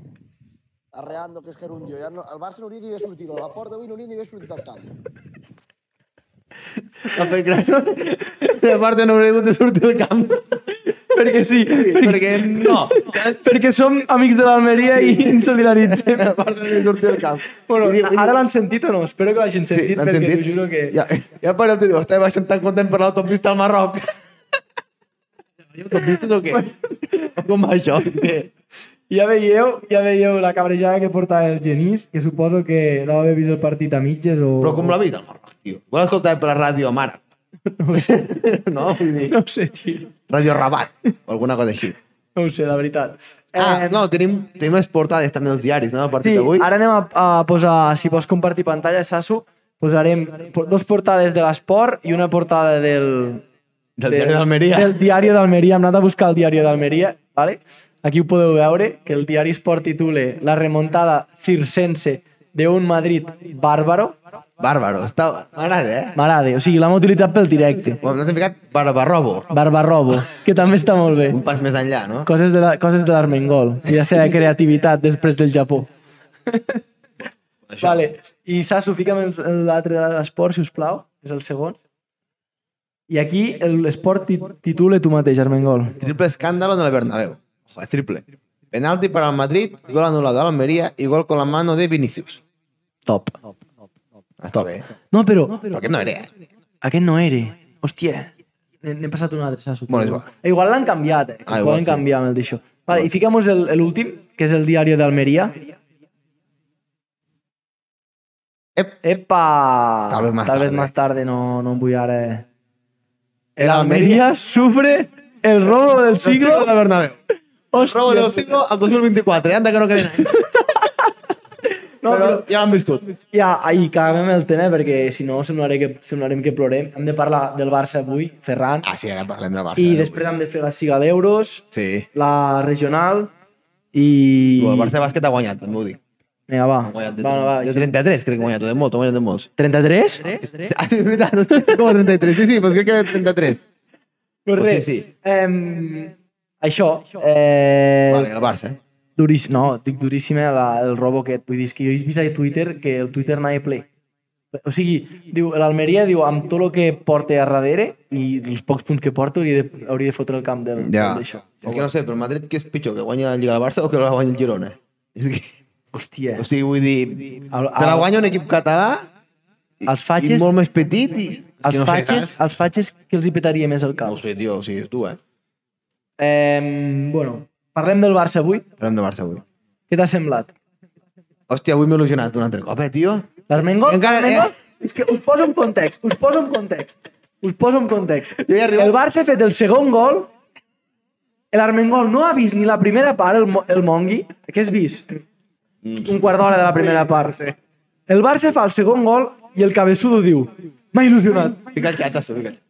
Speaker 5: arreando que és gerundio. Ja no, el Barça no li devia sortir, la porta avui no li devia sortir del camp.
Speaker 2: A fer <laughs> gràcia. De part no hauré hagut de sortir del camp.
Speaker 1: Perquè sí.
Speaker 2: Perquè no.
Speaker 1: Perquè som amics de l'Almeria i <laughs> ens solidaritzem.
Speaker 2: A part no hauré de sortir del camp.
Speaker 1: Bueno,
Speaker 2: I diu-
Speaker 1: ara l'han sentit o no? Espero que l'hagin sentit,
Speaker 2: l'han
Speaker 1: perquè t'ho juro que...
Speaker 2: Ja, ja per el tio, estava baixant tan content per l'autopista al Marroc.
Speaker 1: <laughs>
Speaker 2: Jo autopistes o què? Com va això? Què?
Speaker 1: Ja veieu, ja veieu la cabrejada que portava el Genís, que suposo que no va haver vist el partit a mitges o...
Speaker 2: Però com l'ha vist al Marroc, tio? Vol escoltar per la ràdio Amara?
Speaker 1: <laughs> No ho sé,
Speaker 2: No, vull dir,
Speaker 1: no ho sé, tio.
Speaker 2: ràdio Rabat, o alguna cosa així.
Speaker 1: No ho sé, la veritat.
Speaker 2: Ah,
Speaker 1: Em,
Speaker 2: no, tenim, tenim les portades també dels diaris, no? El partit
Speaker 1: Sí,
Speaker 2: d'avui.
Speaker 1: ara anem a, a posar, si vols compartir pantalla, Sasu, posarem po- dos portades de l'esport i una portada del...
Speaker 2: Del diari d'Almeria.
Speaker 1: Del diari d'Almeria. Hem anat a buscar el diari d'Almeria, vale? Aquí ho podeu veure, que el diari Esport titule La remontada circense de un Madrid bàrbaro.
Speaker 2: Bàrbaro, està... M'agrada, eh?
Speaker 1: M'agrada, o sigui, l'hem utilitzat pel directe.
Speaker 2: Bueno, Nosaltres hem ficat Barbarrobo,
Speaker 1: Barbarrobo, que també està molt bé.
Speaker 2: un pas més enllà, no?
Speaker 1: Coses de la- coses de l'Armengol i la seva creativitat després del Japó.
Speaker 2: Això.
Speaker 1: Vale. I Sasu, fica'm els- l'altre de l'esport, si us plau. És el segon. I aquí el- l'esport ti- titula tu mateix, Armengol.
Speaker 2: Triple escándalo en el Bernabéu. Ojo, es triple. Penalti para el Madrid, gol anulado a Almería y gol con la mano de Vinicius.
Speaker 1: Top.
Speaker 2: Està bé.
Speaker 1: No, però...
Speaker 2: Però aquest no era, eh?
Speaker 1: Aquest no era. Hòstia. N'he n'he passat un altre, saps?
Speaker 2: Bueno, és igual.
Speaker 1: Eh, Igual l'han canviat, eh?
Speaker 2: Ah,
Speaker 1: Ah,
Speaker 2: igual
Speaker 1: poden
Speaker 2: sí.
Speaker 1: canviar amb el d'això. Vale, I ficamos el- l'últim, que és el diari d'Almeria.
Speaker 2: Ep.
Speaker 1: Epa!
Speaker 2: Tal vez más
Speaker 1: Tal vez
Speaker 2: tarde.
Speaker 1: más tarde, no, no em vull ara... El
Speaker 2: El
Speaker 1: Almería
Speaker 2: Almería
Speaker 1: sufre el robo del siglo.
Speaker 2: de Bernabéu.
Speaker 1: Hòstia,
Speaker 2: Robo del siglo al 2024, eh? Anda que no queden anys. No, però ja l'han viscut.
Speaker 1: Ja, i acabem el tema perquè si no semblaré que, semblarem que plorem. Hem de parlar del Barça avui, Ferran.
Speaker 2: Ah, sí, ara parlem del Barça.
Speaker 1: I
Speaker 2: eh?
Speaker 1: després hem de fer la Siga d'Euros,
Speaker 2: Sí.
Speaker 1: la regional i...
Speaker 2: I... El Barça de bàsquet ha guanyat, també ho dic.
Speaker 1: Vinga, va.
Speaker 2: Ha guanyat de,
Speaker 1: va, va,
Speaker 2: de
Speaker 1: va.
Speaker 2: 33, crec que ha guanyat, o de molt, ha guanyat de molts.
Speaker 1: 33?
Speaker 2: <laughs> Ah, sí, és veritat, no sé com a 33, sí, sí, però crec que era de 33.
Speaker 1: Pues
Speaker 2: Pues
Speaker 1: res,
Speaker 2: sí, sí.
Speaker 1: Em, això, eh,
Speaker 2: Vale, el Barça. eh?
Speaker 1: durís, no, dic duríssima la, el robo aquest. Vull dir, és que jo he vist a Twitter que el Twitter anava ple. O sigui, diu, l'Almeria diu, amb tot el que porta a darrere i els pocs punts que porta hauria de, hauria de fotre el camp del,
Speaker 2: Ja.
Speaker 1: d'això.
Speaker 2: És que no sé, però el Madrid què és pitjor, que guanya la Lliga del Barça o que la guanya el Girona? És que, <laughs> pues
Speaker 1: Hòstia, eh.
Speaker 2: o sigui, vull dir,
Speaker 1: Al-
Speaker 2: te la
Speaker 1: al-
Speaker 2: guanya un equip català
Speaker 1: els fatxes,
Speaker 2: i molt més petit i... és que
Speaker 1: els,
Speaker 2: no sé,
Speaker 1: fatxes,
Speaker 2: saps?
Speaker 1: els fatxes que els hi petaria més el
Speaker 2: No ho
Speaker 1: cap.
Speaker 2: sé, tio, o sigui, és tu, eh?
Speaker 1: Eh, bueno, parlem del Barça avui.
Speaker 2: Parlem de Barça avui.
Speaker 1: Què t'ha semblat?
Speaker 2: Hòstia, avui m'he il·lusionat un altre cop, eh, tio?
Speaker 1: L'Armengo?
Speaker 2: Encara- eh.
Speaker 1: L'Armengo? És que us poso en context, us poso en context. Us poso en context.
Speaker 2: Jo he arribat-
Speaker 1: El Barça ha fet el segon gol, l'Armengol no ha vist ni la primera part, el, Mo- el Mongui. Què has vist?
Speaker 2: Mm.
Speaker 1: Un quart d'hora de la primera part. El Barça fa el segon gol i el cabeçudo diu m'ha il·lusionat,
Speaker 2: Fica el xatxa, fica el xatxa.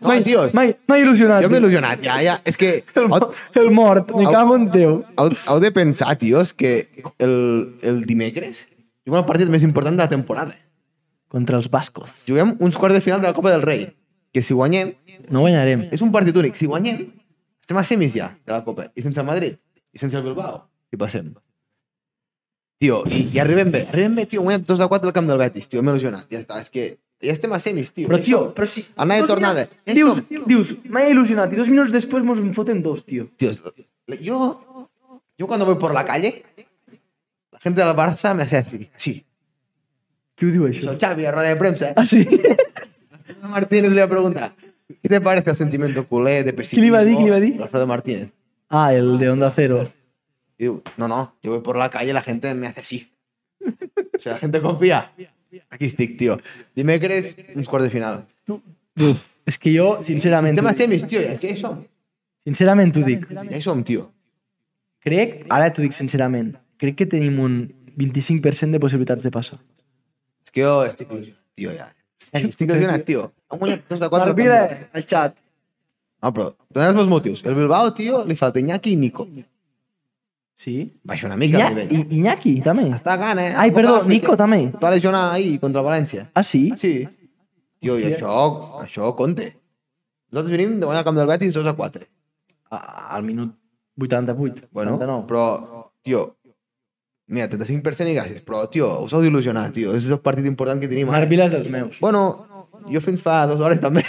Speaker 2: No, tio,
Speaker 1: m'ha m'ha il·lusionat.
Speaker 2: jo m'he il·lusionat, ja, ja. És que...
Speaker 1: El, mo- el mort, me
Speaker 2: Au.
Speaker 1: cago en Déu.
Speaker 2: heu, heu de pensar, tio, és que el, el dimecres juguem el partit més important de la temporada.
Speaker 1: Contra els bascos.
Speaker 2: Juguem uns quarts de final de la Copa del Rei, que si guanyem,
Speaker 1: No guanyarem.
Speaker 2: és un partit únic. Si guanyem, estem a semis ja de la Copa, i sense el Madrid, i sense el Bilbao, i passem. Tio, i, i arribem bé, arribem bé, tio, guanyem 2 a 4 al camp del Betis, tio, m'he il·lusionat, ja està, és que ja estem a semis, tio.
Speaker 1: Però,
Speaker 2: Ja
Speaker 1: tio,
Speaker 2: som.
Speaker 1: però si...
Speaker 2: Anar de
Speaker 1: dos
Speaker 2: tornada.
Speaker 1: minuts-
Speaker 2: Ja
Speaker 1: Dius,
Speaker 2: som.
Speaker 1: dius, m'ha il·lusionat i dos minuts després mos en foten dos, tio.
Speaker 2: Tío, yo, yo cuando voy por la calle, la gente del Barça me hace así. Sí.
Speaker 1: Qui ho diu,
Speaker 2: Soy
Speaker 1: això?
Speaker 2: Xavi, a rueda de prensa.
Speaker 1: Ah, sí?
Speaker 2: Alfredo Martínez le pregunta, ¿qué te parece el sentimiento culé de pesimismo?
Speaker 1: ¿Qué le iba a decir? ¿Qué le iba a decir?
Speaker 2: Alfredo Martínez.
Speaker 1: <laughs> Ah, el de Onda Cero.
Speaker 2: Y digo, no, no, yo voy por la calle y la gente me hace así. O sea, la gente confía. Aquí stick, tío. Dime que eres un cuartos de final.
Speaker 1: És que jo, sincerament,
Speaker 2: Tema
Speaker 1: ho dic.
Speaker 2: semis, tío. Es que son.
Speaker 1: sincerament ho dic.
Speaker 2: Ya son, tío.
Speaker 1: Crec, ara t'ho dic sincerament, crec que tenim un 25% de possibilitats de passar.
Speaker 2: Es que yo estoy ilusionado, tío, ya. Estoy ilusionado, tío. Han guanyat dos de quatre al camp
Speaker 1: Barbira,
Speaker 2: del Barça.
Speaker 1: al xat.
Speaker 2: No, però donem els motius. El Bilbao, tio, li falta Iñaki i Nico.
Speaker 1: Sí?
Speaker 2: Baixa una mica el
Speaker 1: Iñaki,
Speaker 2: nivell.
Speaker 1: Iñaki, també.
Speaker 2: Està gana, eh?
Speaker 1: Ai,
Speaker 2: Copa
Speaker 1: perdó,
Speaker 2: d'Àfrica.
Speaker 1: Nico, també.
Speaker 2: Es Va lesionar ahir contra el València.
Speaker 1: Ah, sí?
Speaker 2: Sí. Tio, i això, això compte. Nosaltres venim de guanyar el camp del Betis 2 a 4.
Speaker 1: Ah, Al minut 88,
Speaker 2: Bueno,
Speaker 1: 89.
Speaker 2: però, tio, mira, 35% i gràcies, però, tio, us heu d'il·lusionar, tio. És el partit important que tenim. ara.
Speaker 1: Marc Vila és dels meus.
Speaker 2: Bueno, jo fins fa dues hores <laughs> també.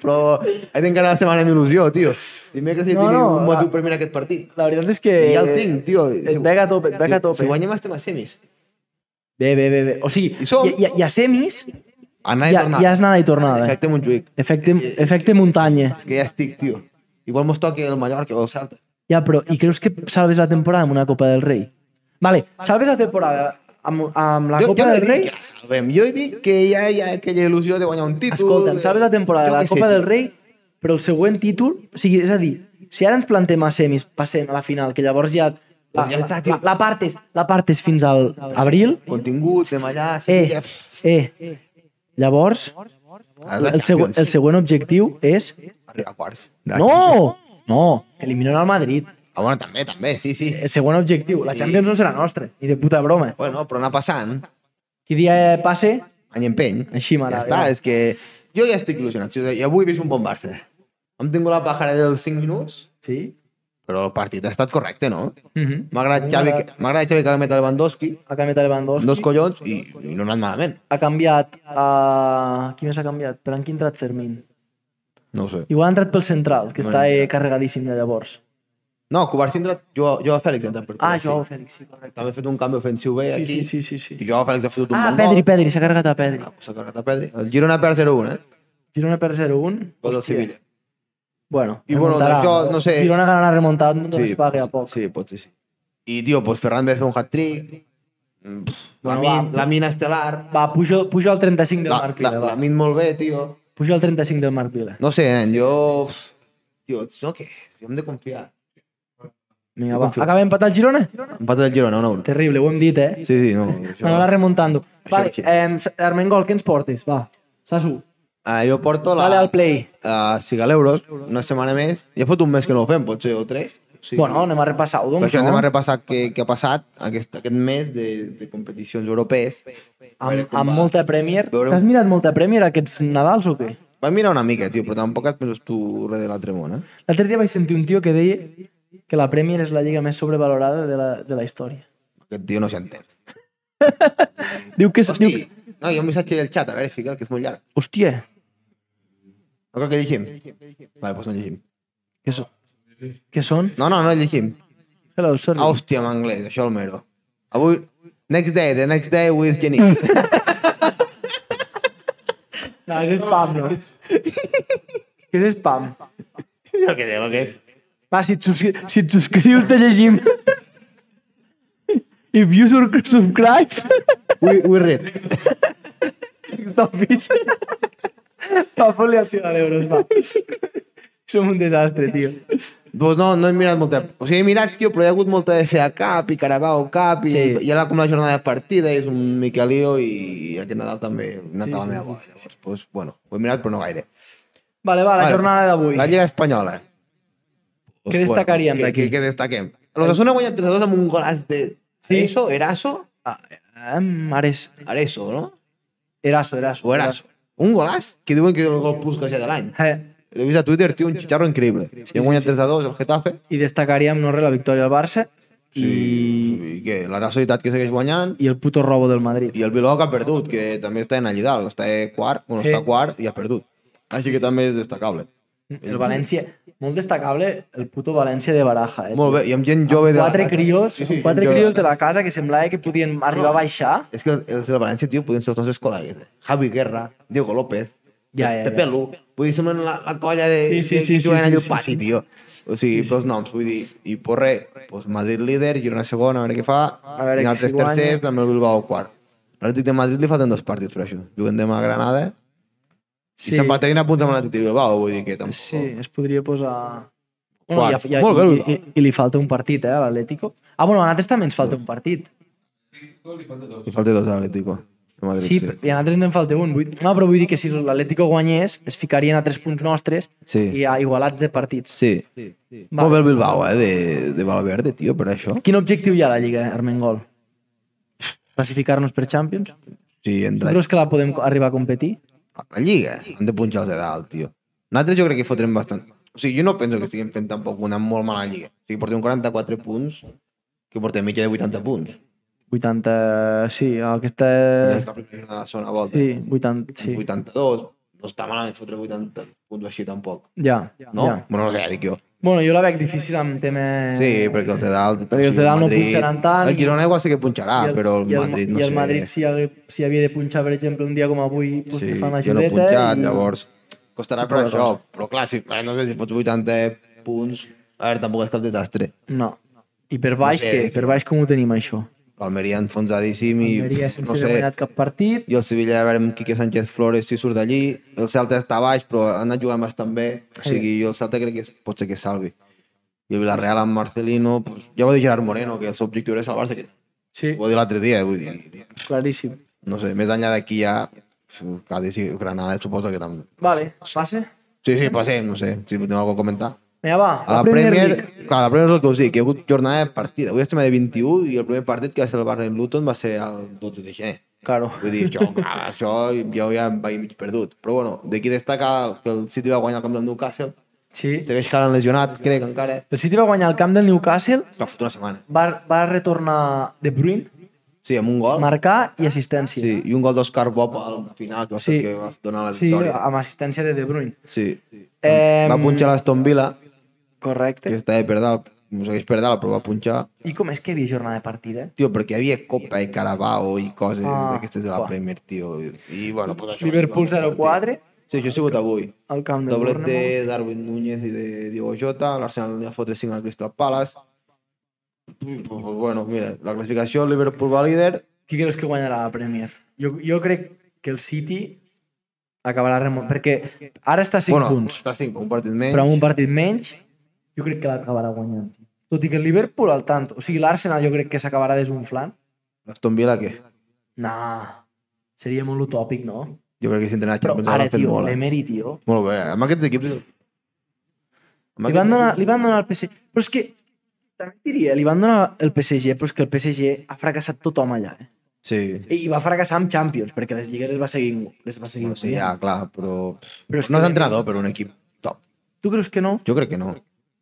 Speaker 2: però he d'encarar la setmana amb il·lusió, tio. Dimecres ja
Speaker 1: No, no,
Speaker 2: no, tinc
Speaker 1: ah, eh,
Speaker 2: un
Speaker 1: la-
Speaker 2: motiu per mirar aquest partit.
Speaker 1: La veritat és que...
Speaker 2: I ja el tinc, tio.
Speaker 1: Et pega a tope, et pega a
Speaker 2: Si
Speaker 1: tope.
Speaker 2: guanyem estem a este semis.
Speaker 1: Bé, bé, bé, bé. O sigui,
Speaker 2: I som-
Speaker 1: hi, ha- hi ha semis,
Speaker 2: Anar
Speaker 1: hi ha, hi ha anada i tornada. eh.
Speaker 2: Efecte Montjuïc.
Speaker 1: Efecte,
Speaker 2: És que-
Speaker 1: efecte muntanya.
Speaker 2: És que ja estic, tio. Igual mos toqui el Mallorca o el Celta.
Speaker 1: Ja, però i creus que salves la temporada amb una Copa del Rei? Vale, salves la temporada amb, amb la Copa
Speaker 2: no
Speaker 1: del
Speaker 2: dic
Speaker 1: Rei?
Speaker 2: que la salvem. Jo dic que hi ha, hi ha aquella il·lusió de guanyar un títol.
Speaker 1: Escolta'm,
Speaker 2: de-
Speaker 1: salves la temporada de
Speaker 2: Jo
Speaker 1: la
Speaker 2: què sé,
Speaker 1: Copa del
Speaker 2: tio.
Speaker 1: Rei, però el següent títol... O sigui, és a dir, si ara ens plantem a semis, passem a la final, que llavors ja... La,
Speaker 2: Doncs ja
Speaker 1: la,
Speaker 2: està,
Speaker 1: la,
Speaker 2: tio.
Speaker 1: la, part, és, la part és fins al abril.
Speaker 2: Contingut, anem allà,
Speaker 1: Eh,
Speaker 2: Sevilla... pff,
Speaker 1: eh. Llavors,
Speaker 2: a la
Speaker 1: el, següent,
Speaker 2: Champions.
Speaker 1: el següent objectiu és...
Speaker 2: Arribar a quarts.
Speaker 1: No! No, que eliminen el Madrid.
Speaker 2: Ah, bueno, també, també, sí, sí.
Speaker 1: El següent objectiu, la
Speaker 2: Sí.
Speaker 1: Champions no serà nostra, ni de puta broma.
Speaker 2: Bueno, però anar passant,
Speaker 1: Qui dia eh, passe,
Speaker 2: any empeny.
Speaker 1: així
Speaker 2: Ja
Speaker 1: m'agrada.
Speaker 2: està, és que jo ja estic il·lusionat. tio. I avui he vist un bon Barça. Hem tingut la pajara dels 5 minuts,
Speaker 1: Sí?
Speaker 2: però el partit ha estat correcte, no?
Speaker 1: Mm
Speaker 2: M'ha agradat Xavi, que- m'ha agradat Xavi que va metre Lewandowski,
Speaker 1: Ha canviat a Lewandowski,
Speaker 2: dos collons, i, i no ha anat malament.
Speaker 1: ha canviat a... Qui més ha canviat? Per en qui ha entrat Fermín?
Speaker 2: No ho sé.
Speaker 1: Igual ha entrat pel central, que
Speaker 2: No
Speaker 1: està
Speaker 2: n'he
Speaker 1: eh,
Speaker 2: entrat.
Speaker 1: carregadíssim de llavors.
Speaker 2: No, Covarsí ha entrat, jo, jo a Fèlix ha entrat per
Speaker 6: Ah,
Speaker 2: Covarsí.
Speaker 6: Joao Fèlix, sí, correcte.
Speaker 2: També ha fet un canvi ofensiu bé
Speaker 1: Sí,
Speaker 2: aquí.
Speaker 1: sí, sí, sí, sí.
Speaker 2: I Joao Fèlix ha fotut un
Speaker 6: Ah,
Speaker 2: bon
Speaker 6: Pedri,
Speaker 2: gol.
Speaker 6: Pedri, s'ha carregat a Pedri.
Speaker 2: Ah, S'ha carregat a Pedri. El Girona perd 0-1, eh?
Speaker 1: Girona per 0-1.
Speaker 2: Gol del
Speaker 1: Hòstia.
Speaker 2: Sevilla.
Speaker 1: Bueno,
Speaker 2: I bueno,
Speaker 1: remuntarà.
Speaker 2: d'això, no sé-
Speaker 1: Girona ganarà remuntat, no sí,
Speaker 2: Sí, pues,
Speaker 1: es pagui a poc.
Speaker 2: Sí, potser sí. I, tio, doncs Ferran ve a fer un hat-trick. Mm, pff, La,
Speaker 1: Bueno,
Speaker 2: min,
Speaker 1: va.
Speaker 2: la mina estel·lar.
Speaker 1: Va, puja, puja al 35 del
Speaker 2: La,
Speaker 1: Marc
Speaker 2: la,
Speaker 1: Vila,
Speaker 2: la
Speaker 1: va.
Speaker 2: min molt bé, tio.
Speaker 1: Puja al 35 del Marc Vila.
Speaker 2: No sé, nen, jo... pff, Tio, no què? Tio, hem de confiar.
Speaker 1: Vinga, va. Acabem empatat Girona?
Speaker 2: Empat del Girona, 1-1.
Speaker 1: Terrible, ho hem dit, eh?
Speaker 2: Sí, sí, no.
Speaker 1: Això... Anarà
Speaker 2: Això...
Speaker 1: remuntant-ho. Vale,
Speaker 2: sí.
Speaker 1: eh, Armengol, què ens portes? Va, Sasu,
Speaker 2: Ah, jo porto la...
Speaker 1: dale al play.
Speaker 2: a Sigal Euros, una setmana més. Ja fot un mes que no ho fem, potser, o tres. Sí.
Speaker 1: Bueno, anem a repassar-ho,
Speaker 2: Però
Speaker 1: doncs.
Speaker 2: això anem a
Speaker 1: no?
Speaker 2: repassar què, què ha passat aquest, aquest mes de, de competicions europees. A veure
Speaker 1: Amb,
Speaker 2: com
Speaker 1: amb
Speaker 2: va.
Speaker 1: molta Premier.
Speaker 2: Veurem.
Speaker 1: T'has mirat molta Premier aquests Nadals o què?
Speaker 2: Vam mirar Pues una mica, tio, però tampoc et penses pues, tu res de l'altre món, eh?
Speaker 1: L'altre dia vaig sentir un tio que deia que la Premier és la lliga més sobrevalorada de la, de la història.
Speaker 2: Aquest tio no s'entén.
Speaker 1: Diu que... és-
Speaker 2: Hosti,
Speaker 1: Diu que...
Speaker 2: no, hi ha un missatge del xat, a veure, fica'l, que és molt llarg.
Speaker 1: Hòstia,
Speaker 2: No crec que llegim. Vale, doncs no llegim.
Speaker 1: què són? Què són?
Speaker 2: No, no, no llegim.
Speaker 1: Hello, sorry.
Speaker 2: Ah, hòstia, en anglès, això el mero. Avui, next day, the next day with Genís. <laughs>
Speaker 1: No, és spam, no? que és spam.
Speaker 2: jo què sé, el que és.
Speaker 1: Va, si et, subscri si et subscrius, te llegim. If you sur- subscribe,
Speaker 2: We, we read.
Speaker 1: stop fish. Va, fot-li el 100 euros, va. Som un desastre, tio.
Speaker 2: Doncs Pues no, no he mirat molta... O sigui, he mirat, tio, però hi ha hagut molta FA Cup i Carabao Cup i, sí.
Speaker 1: Sí.
Speaker 2: i ara com la jornada de partida és un Miquelio i aquest Nadal també ha anat
Speaker 1: Sí,
Speaker 2: sí, a la
Speaker 1: sí,
Speaker 2: meva
Speaker 1: sí,
Speaker 2: bola. Llavors, doncs, pues, bueno, ho he mirat però no gaire.
Speaker 1: Vale, va, la
Speaker 2: Vale.
Speaker 1: jornada d'avui.
Speaker 2: eh. La Pues, Lliga Espanyola. Doncs,
Speaker 1: Què destacaríem
Speaker 2: què-
Speaker 1: d'aquí?
Speaker 2: Què, què destaquem? L'Osasuna ha guanyat 3 2 amb un golaç de...
Speaker 1: Sí.
Speaker 2: Sí. Eso, Eraso?
Speaker 1: Ah, em, ara és...
Speaker 2: Areso, no?
Speaker 1: Eraso, Eraso.
Speaker 2: O Eraso. Un golaç que diuen que és el gol Puskas ja de l'any.
Speaker 1: Eh,
Speaker 2: L'he vist a Twitter, tio, un xicharro increïble. Sí, I han guanyat 3 2 el Getafe.
Speaker 1: I destacaríem, no res, la victòria del Barça i,
Speaker 2: I què? L'Araso que segueix guanyant.
Speaker 1: i el puto robo del Madrid.
Speaker 2: I el Bilbao que ha perdut, que també està en allà dalt, està eh, quart, bueno,
Speaker 1: Sí.
Speaker 2: està quart i ha perdut. Així que també és destacable.
Speaker 1: El València, molt destacable el puto València de Baraja, eh?
Speaker 2: Molt bé, i amb gent jove... De
Speaker 1: Quatre crios,
Speaker 2: Sí, sí,
Speaker 1: quatre
Speaker 2: gent jove.
Speaker 1: crios de la casa que semblava que podien arribar a baixar.
Speaker 2: És que els del València, tio, podien ser els nostres col·legues. Eh? Javi Guerra, Diego López,
Speaker 1: Ja, ja, ja.
Speaker 2: Pepe Lu, vull dir, semblen la, la colla de,
Speaker 1: Sí, sí,
Speaker 2: de
Speaker 1: sí,
Speaker 2: que
Speaker 1: sí,
Speaker 2: juguen
Speaker 1: sí,
Speaker 2: allà
Speaker 1: sí,
Speaker 2: al pati,
Speaker 1: sí.
Speaker 2: tio. O sigui, pels noms, vull dir, i pues res, pues Madrid líder, Girona segona, a veure què fa,
Speaker 1: A veure
Speaker 2: i
Speaker 1: que
Speaker 2: altres
Speaker 1: si guanya.
Speaker 2: tercers, també el Bilbao quart. L'Atlètic de Madrid li falten dos partits per això. Juguen demà a Granada, sí.
Speaker 1: Sí,
Speaker 2: i Sant Paterina apunta amb l'Atlètic de Bilbao, vull dir que tampoc...
Speaker 1: sí, es podria posar... Bueno,
Speaker 2: Quart.
Speaker 1: i, i,
Speaker 2: Molt bé,
Speaker 1: i, i, i, li falta un partit, eh, a l'Atlético. Ah, bueno, a nosaltres també ens falta un partit.
Speaker 2: Li falta dos a l'Atlético. de Madrid,
Speaker 1: Sí, i a nosaltres n'en falta un. Vull... No, però vull dir que si l'Atlético guanyés, es ficarien a tres punts nostres
Speaker 2: Sí.
Speaker 1: i a igualats de partits.
Speaker 2: Sí. sí. Molt bé el Bilbao, eh, de, de Valverde, tio, per això.
Speaker 1: Quin objectiu hi ha a la Lliga, Armengol? Classificar-nos per Champions?
Speaker 2: Sí,
Speaker 1: Tu
Speaker 2: entra
Speaker 1: creus que la podem co- arribar a competir?
Speaker 2: a la Lliga. Han de punxar els de dalt, tio. Nosaltres jo crec que fotrem bastant... O sigui, jo no penso que estiguem fent tampoc una molt mala Lliga. O sigui, portem 44 punts, que portem mitja de 80 punts.
Speaker 1: Eh, 80... Sí, aquesta...
Speaker 2: Ja és la primera eh, jornada de la segona volta.
Speaker 1: Sí, 80... Sí,
Speaker 2: 82, no està malament fotre 80 punts així tampoc.
Speaker 1: ja,
Speaker 2: No?
Speaker 1: ja.
Speaker 2: Bueno, no sé, ja dic jo.
Speaker 1: Bueno, jo la veig difícil amb tema...
Speaker 2: Sí, perquè els de dalt...
Speaker 1: Perquè els de dalt no punxaran tant.
Speaker 2: El Girona igual sí que punxarà,
Speaker 1: I
Speaker 2: Ah, però el
Speaker 1: i
Speaker 2: Madrid no
Speaker 1: I el
Speaker 2: sé.
Speaker 1: Madrid, si, hagué- si havia de punxar, per exemple, un dia com avui, doncs sí, fan la
Speaker 2: jo no he
Speaker 1: judeta...
Speaker 2: punxat,
Speaker 1: i... doncs-
Speaker 2: llavors costarà per
Speaker 1: Poca
Speaker 2: això, però clar, si, eh, no sé, si fots 80 punts, a veure, tampoc és cap desastre.
Speaker 1: No. I per baix,
Speaker 2: sé,
Speaker 1: què?
Speaker 2: sí.
Speaker 1: Per baix com ho tenim, això?
Speaker 2: L'Almeria enfonsadíssim i
Speaker 1: Almeria
Speaker 2: pff,
Speaker 1: sense
Speaker 2: no
Speaker 1: haver
Speaker 2: sé,
Speaker 1: guanyat cap partit.
Speaker 2: i el Sevilla a veure amb Quique Sánchez Flores si surt d'allí, el Celta està baix però ha anat jugant bastant bé, o
Speaker 1: Sí.
Speaker 2: sigui, jo el Celta crec que es- pot ser que es salvi. I el Villarreal amb Marcelino, pues, ja ho va dir Gerard Moreno, que el seu objectiu era salvar-se, que
Speaker 1: Sí,
Speaker 2: ho va dir l'altre dia, vull dir,
Speaker 1: claríssim.
Speaker 2: no sé, més enllà d'aquí ja, pf, Cádiz i Granada suposo que també.
Speaker 1: Vale, passe.
Speaker 2: Sí, sí, passem, no sé, si teniu alguna cosa a comentar.
Speaker 1: Vinga, va,
Speaker 2: A la Premier, clar, la Premier és el que us dic, hi ha hagut jornada de partida. Avui estem a de 21 i el primer partit que va ser el Barney Luton va ser el 12 de gener.
Speaker 1: Claro.
Speaker 2: Vull
Speaker 1: <laughs>
Speaker 2: dir, això, clar, això jo ja em vaig mig perdut. Però bueno, d'aquí destaca que el City va guanyar el camp del Newcastle.
Speaker 1: Sí.
Speaker 2: Segueix Haaland lesionat, crec, encara.
Speaker 1: El City va guanyar el camp del Newcastle,
Speaker 2: Però fot una setmana.
Speaker 1: va, va retornar De Bruyne,
Speaker 2: Sí, amb un gol.
Speaker 1: marcar i assistència.
Speaker 2: Sí, i un gol d'Oscar Bob al final, que va ser
Speaker 1: Sí.
Speaker 2: el que va donar la
Speaker 1: sí
Speaker 2: victòria.
Speaker 1: amb assistència de De Bruyne.
Speaker 2: Sí.
Speaker 1: Em,
Speaker 2: Va punxar l'Aston Villa,
Speaker 1: Correcte.
Speaker 2: que està de per dalt. Ens hagués perdut, però va punxar.
Speaker 1: I com és que hi havia jornada de partida?
Speaker 2: Tio, perquè hi havia Copa i Carabao i coses
Speaker 1: Ah,
Speaker 2: d'aquestes de la
Speaker 1: buah.
Speaker 2: Premier, tio. I, i bueno, pues això...
Speaker 1: Liverpool 0-4
Speaker 2: Sí, això ha sigut avui.
Speaker 1: al camp del
Speaker 2: Doblet de
Speaker 1: Bournemouth.
Speaker 2: Darwin Núñez i de Diego Jota, l'Arsenal ja fotre 5 al Crystal Palace. Ui, pues, pues, Bueno, mira, la classificació, el Liverpool va líder,
Speaker 1: Qui creus que guanyarà la Premier? Jo, jo crec que el City acabarà remont... Perquè ara està a 5
Speaker 2: bueno,
Speaker 1: punts,
Speaker 2: està 5, un partit menys.
Speaker 1: però amb un partit menys, jo crec que l'acabarà guanyant. Tot i que el Liverpool al tant. O sigui, l'Arsenal jo crec que s'acabarà desunflant.
Speaker 2: L'Aston Villa, què?
Speaker 1: Nah, seria molt utòpic, no?
Speaker 2: Jo crec que si entrenar a
Speaker 1: Però
Speaker 2: Champions
Speaker 1: ara,
Speaker 2: l'ha fet
Speaker 1: tio,
Speaker 2: molt. eh?
Speaker 1: l'Emery, tio...
Speaker 2: Molt bé, amb aquests equips... Amb
Speaker 1: Li van,
Speaker 2: aquests
Speaker 1: donar, li van donar el PSG. Però és que, també et diria, li van donar el PSG, però és que el PSG ha fracassat tothom allà. Eh?
Speaker 2: equips- Sí,
Speaker 1: I va fracassar amb Champions, perquè les lligues les va seguir, les va seguir
Speaker 2: bueno, sí, ja, clar, però...
Speaker 1: Però és
Speaker 2: no
Speaker 1: que-
Speaker 2: és entrenador per un equip top.
Speaker 1: Tu creus que no?
Speaker 2: Jo crec que no.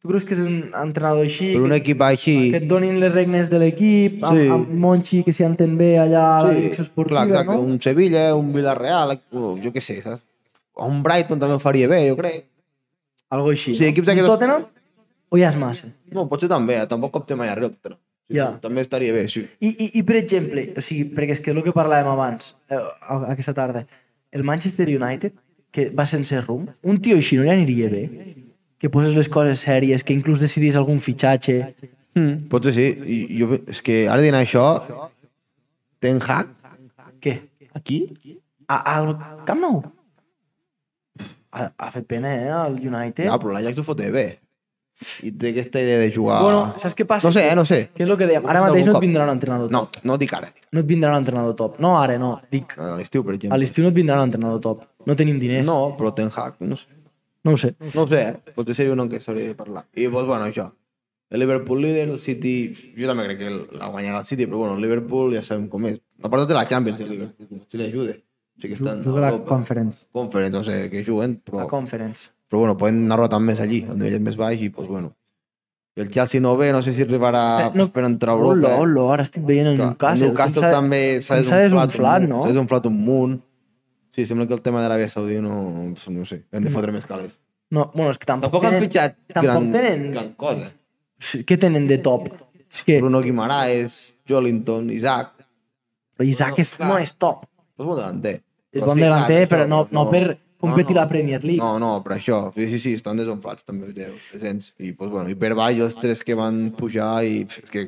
Speaker 1: Tu creus que és un entrenador així?
Speaker 2: Per un
Speaker 1: que,
Speaker 2: equip així...
Speaker 1: que et donin les regnes de l'equip, amb,
Speaker 2: Sí.
Speaker 1: amb Monchi, que s'hi entén bé allà a la direcció esportiva,
Speaker 2: clar, exacte,
Speaker 1: no?
Speaker 2: un Sevilla, un Villarreal, o jo què sé, saps? O un Brighton també ho faria bé, jo crec.
Speaker 1: Algo així.
Speaker 2: Sí, equips
Speaker 1: no? Un
Speaker 2: d'aquests-
Speaker 1: Tottenham? O ja és massa?
Speaker 2: No, potser també, eh? tampoc copte mai arriba. Però... Sí,
Speaker 1: Ja.
Speaker 2: També estaria bé, sí.
Speaker 1: I, i, I, per exemple, o sigui, perquè és que és el que parlàvem abans, eh, a- aquesta tarda, el Manchester United, que va sense rumb, un tio així no li aniria bé? Que poses les coses sèries, que inclús decidís algun fitxatge...
Speaker 2: Mm. Potser sí. I, jo, és que ara dient això, Ten Hag,
Speaker 1: Què?
Speaker 2: aquí,
Speaker 1: A, al Camp Nou? Ha, ha fet pena, eh, al United?
Speaker 2: ja, però l'Ajax ho foté bé. I té aquesta idea de jugar...
Speaker 1: Bueno, saps què passa?
Speaker 2: No sé, eh, no sé.
Speaker 1: Què és el que dèiem? Ara
Speaker 2: Algun
Speaker 1: mateix no et
Speaker 2: cop.
Speaker 1: vindrà un entrenador
Speaker 2: No,
Speaker 1: top.
Speaker 2: no dic ara.
Speaker 1: No. et vindrà un entrenador top. No ara, no. Dic,
Speaker 2: A l'estiu, per
Speaker 1: a
Speaker 2: exemple.
Speaker 1: l'estiu no et vindrà un entrenador top. No tenim diners.
Speaker 2: No, però Ten Hag, no sé.
Speaker 1: No ho sé.
Speaker 2: No ho sé, eh? potser seria un nom que s'hauria de parlar. I doncs, pues, bueno, això. El Liverpool líder, el City... Jo també crec que el- la guanyarà el City, però bueno, el Liverpool ja sabem com és. A part de la Champions, el Liverpool, si li ajuda. Sí que estan
Speaker 1: Juga a la Conference.
Speaker 2: Conference, no sé què juguen,
Speaker 1: La
Speaker 2: però,
Speaker 1: Conference.
Speaker 2: però bueno, poden anar rotant més allí, a nivells més baix, i doncs, pues, bueno. I el Chelsea no ve, no sé si arribarà
Speaker 1: Eh, no-
Speaker 2: per entrar a Europa. eh?
Speaker 1: Hola, hola, ara estic veient el
Speaker 2: Clar,
Speaker 1: Newcastle.
Speaker 2: el Newcastle
Speaker 1: com s'ha-
Speaker 2: també s'ha
Speaker 1: com s'ha desunflat,
Speaker 2: un munt,
Speaker 1: no?
Speaker 2: S'ha desunflat un munt. Sí, sembla que el tema d'Aràbia Saudí no... pues, No ho sé, hem
Speaker 1: Mm.
Speaker 2: de fotre més calés.
Speaker 1: No, bueno, és que tampoc,
Speaker 2: Tampoc han
Speaker 1: tenen...
Speaker 2: fitxat
Speaker 1: tampoc
Speaker 2: gran,
Speaker 1: tenen-
Speaker 2: gran cosa.
Speaker 1: Què tenen de top? És que
Speaker 2: Bruno Guimaraes, Jolinton, Isaac... pues
Speaker 1: Isaac és, no és top.
Speaker 2: És bon delanter.
Speaker 1: És
Speaker 2: Però
Speaker 1: bon
Speaker 2: sí, clar,
Speaker 1: delanter,
Speaker 2: això,
Speaker 1: però no, no per competir la Premier League.
Speaker 2: No, no, per això. Sí, sí, sí estan desunflats també, els deus, descents. I, pues, bueno, i per baix els tres que van pujar i pff, és que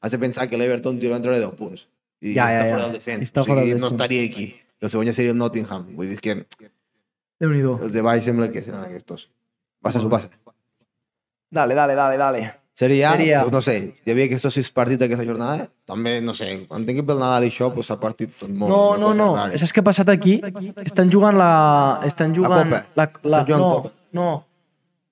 Speaker 2: has de pensar que l'Everton tio va treure 10 punts. I
Speaker 1: Ja,
Speaker 2: està
Speaker 1: ja, ja.
Speaker 2: fora del descens.
Speaker 1: Està
Speaker 2: o sigui,
Speaker 1: fora del
Speaker 2: no
Speaker 1: descens.
Speaker 2: estaria aquí. I el següent ja seria el Nottingham. Vull dir és que
Speaker 1: Déu-n'hi-do.
Speaker 2: els de baix sembla que seran aquests. Passa, s'ho passa.
Speaker 1: Dale, dale, dale, dale.
Speaker 2: Seria,
Speaker 1: Seria-
Speaker 2: Pues, no sé, hi havia aquests sis partits d'aquesta jornada. També, no sé, entenc que pel Nadal i això pues, s'ha partit tot molt.
Speaker 1: No,
Speaker 2: una
Speaker 1: no,
Speaker 2: cosa
Speaker 1: no.
Speaker 2: rara.
Speaker 1: Saps què ha passat aquí? Estan jugant la... Estan jugant...
Speaker 2: Copa.
Speaker 1: La, la,
Speaker 2: Estan jugant
Speaker 1: no,
Speaker 2: Copa.
Speaker 1: no.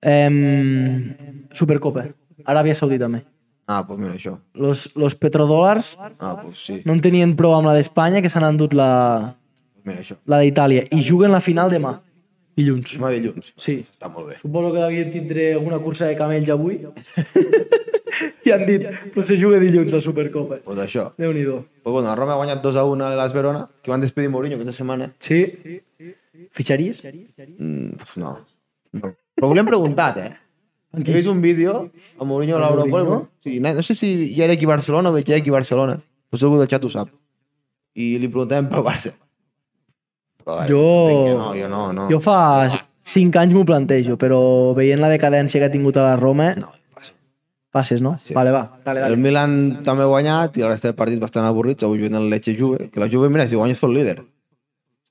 Speaker 1: Em, Supercopa. Aràbia Saudí també.
Speaker 2: Ah, doncs pues mira, això.
Speaker 1: Los, los petrodòlars
Speaker 2: Ah, doncs pues sí.
Speaker 1: no en tenien prou amb la d'Espanya que s'han endut la,
Speaker 2: Pues mira, això.
Speaker 1: la d'Itàlia. I juguen la final demà. Dilluns.
Speaker 2: Demà dilluns.
Speaker 1: Sí.
Speaker 2: Està molt bé.
Speaker 1: Suposo que devien tindre alguna cursa de camells avui. <laughs> I han dit, però se juga dilluns la Supercopa.
Speaker 2: Pues això.
Speaker 1: Déu-n'hi-do.
Speaker 2: Pues bueno, la Roma ha guanyat 2 a 1 a l'Elas Verona, que van despedir Mourinho aquesta setmana.
Speaker 1: Sí? Fitxaries?
Speaker 2: Mm, pues no. no. Però volem preguntar, eh? He vist un vídeo a Mourinho a l'aeroport.
Speaker 1: Mourinho?
Speaker 2: No? Sí, no no sé si ja era aquí a Barcelona o ja era aquí a Barcelona. Pues Potser algú del xat ho sap. I li preguntàvem pel Barça. Però, eh,
Speaker 1: Jo-
Speaker 2: entenc que No, jo no, no.
Speaker 1: Jo fa 5 anys m'ho plantejo, però veient la decadència que ha tingut a la Roma, eh,
Speaker 2: No, passa.
Speaker 1: passes, no?
Speaker 2: Sí.
Speaker 1: Vale, va. Dale,
Speaker 2: El
Speaker 1: dale.
Speaker 2: Milan també ha guanyat i este la resta de partits bastant avorrits. Avui juguen el Lecce Juve, que la Juve, mira, si guanyes fot líder.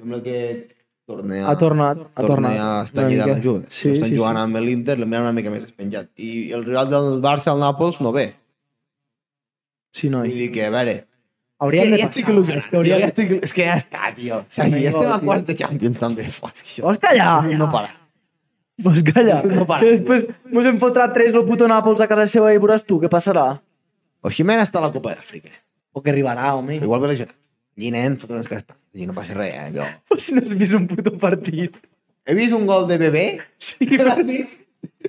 Speaker 2: Sembla que torna a...
Speaker 1: Ha tornat, ha
Speaker 2: torna
Speaker 1: tornat.
Speaker 2: a estar
Speaker 1: una
Speaker 2: lligat
Speaker 1: mica.
Speaker 2: la Juve.
Speaker 1: Sí,
Speaker 2: estan
Speaker 1: sí,
Speaker 2: jugant
Speaker 1: sí.
Speaker 2: amb l'Inter, el miren una mica més despenjat. I el rival del Barça, el Nàpols, no ve.
Speaker 1: Sí,
Speaker 2: Vull
Speaker 1: noi.
Speaker 2: dir que, a veure...
Speaker 1: Hauríem
Speaker 2: és
Speaker 1: de
Speaker 2: que ja
Speaker 1: passar.
Speaker 2: estic il·lusionat,
Speaker 1: És que hauríem
Speaker 2: tio, ja
Speaker 1: de...
Speaker 2: estic... És que ja està, tio. Sergi, ja
Speaker 1: Vinga,
Speaker 2: estem a
Speaker 1: tio.
Speaker 2: quarts de Champions, també.
Speaker 1: <laughs>
Speaker 2: Fos, que això...
Speaker 1: Vols callar?
Speaker 2: No para.
Speaker 1: Vols callar?
Speaker 2: <laughs> No para.
Speaker 1: Que després mos en fotrà tres el puto Nàpols a casa seva i veuràs tu què passarà.
Speaker 2: O Ximena està a la Copa d'Àfrica.
Speaker 1: O que arribarà, home.
Speaker 2: Igual ve lesionat. Allí, nen, fot unes castanyes. Allí no passa res, eh, allò.
Speaker 1: Però si no has vist un puto partit.
Speaker 2: He vist un gol de Bebé.
Speaker 1: <laughs> Sí,
Speaker 2: que l'has vist?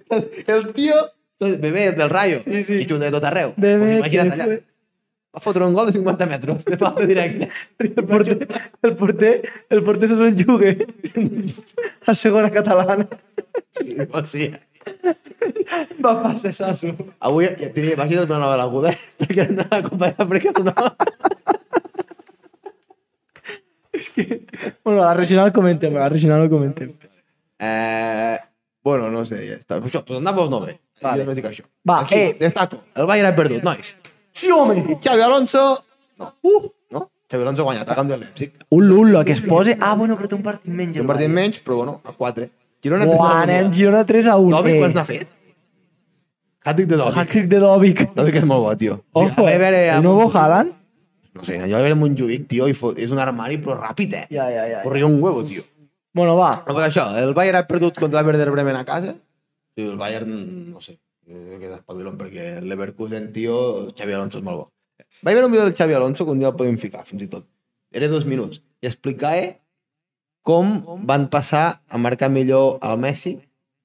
Speaker 2: El, el tio... Bebé, del Rayo.
Speaker 1: Sí, sí.
Speaker 2: Que xuta de tot arreu.
Speaker 1: Bebé,
Speaker 2: Pues
Speaker 1: que
Speaker 2: imagina't allà.
Speaker 1: fue-
Speaker 2: Va fotre un gol de 50 metres, de falta directa. <laughs>
Speaker 1: El porter, el porter, el <laughs> porter se s'enjugue. A segona catalana.
Speaker 2: pues O sigui,
Speaker 1: Va passar Sasso.
Speaker 2: Avui ja tenia, vaig dir el plan de la Guda, <laughs> perquè era la Copa d'Àfrica, no.
Speaker 1: És que... Bueno, la regional comentem, la regional ho comentem.
Speaker 2: Eh, bueno, no sé, ja està. Això, doncs Nàpols pues no ve.
Speaker 1: Vale.
Speaker 2: Jo només dic això.
Speaker 1: Va,
Speaker 2: Aquí,
Speaker 1: eh.
Speaker 2: destaco. El Bayern ha perdut, nois.
Speaker 1: Sí, home!
Speaker 2: I Xavi Alonso, no,
Speaker 1: Uh!
Speaker 2: no? Xavi Alonso ha guanyat, ha canviat l'Epsic.
Speaker 1: Un lullo que es posa... Ah, bueno, però té un partit menys.
Speaker 2: Un partit menys, però bueno, a 4. Girona
Speaker 1: Buah, nen, Girona 3 a 1.
Speaker 2: Dobi,
Speaker 1: eh.
Speaker 2: quants n'ha fet? Hàtic de Dobi.
Speaker 1: Hat-trick de Dobic.
Speaker 2: Dobi que és molt bo, tio. O sigui,
Speaker 1: Ojo,
Speaker 2: a veure,
Speaker 1: el
Speaker 2: amb-
Speaker 1: nuevo Haaland.
Speaker 2: No sé, allò a veure Montjuïc, tio, i fo- és un armari, però ràpid, eh?
Speaker 1: Ja, ja, ja.
Speaker 2: Corria un huevo, tio.
Speaker 1: Bueno, va.
Speaker 2: Però per això, el Bayern ha perdut contra el Werder Bremen a casa. I el Bayern, no sé, eh, que s'espavilen perquè el Leverkusen, tio, el Xavi Alonso és molt bo. Vaig veure un vídeo del Xavi Alonso que un dia el podem ficar, fins i tot. Era dos minuts. I explicava com van passar a marcar millor el Messi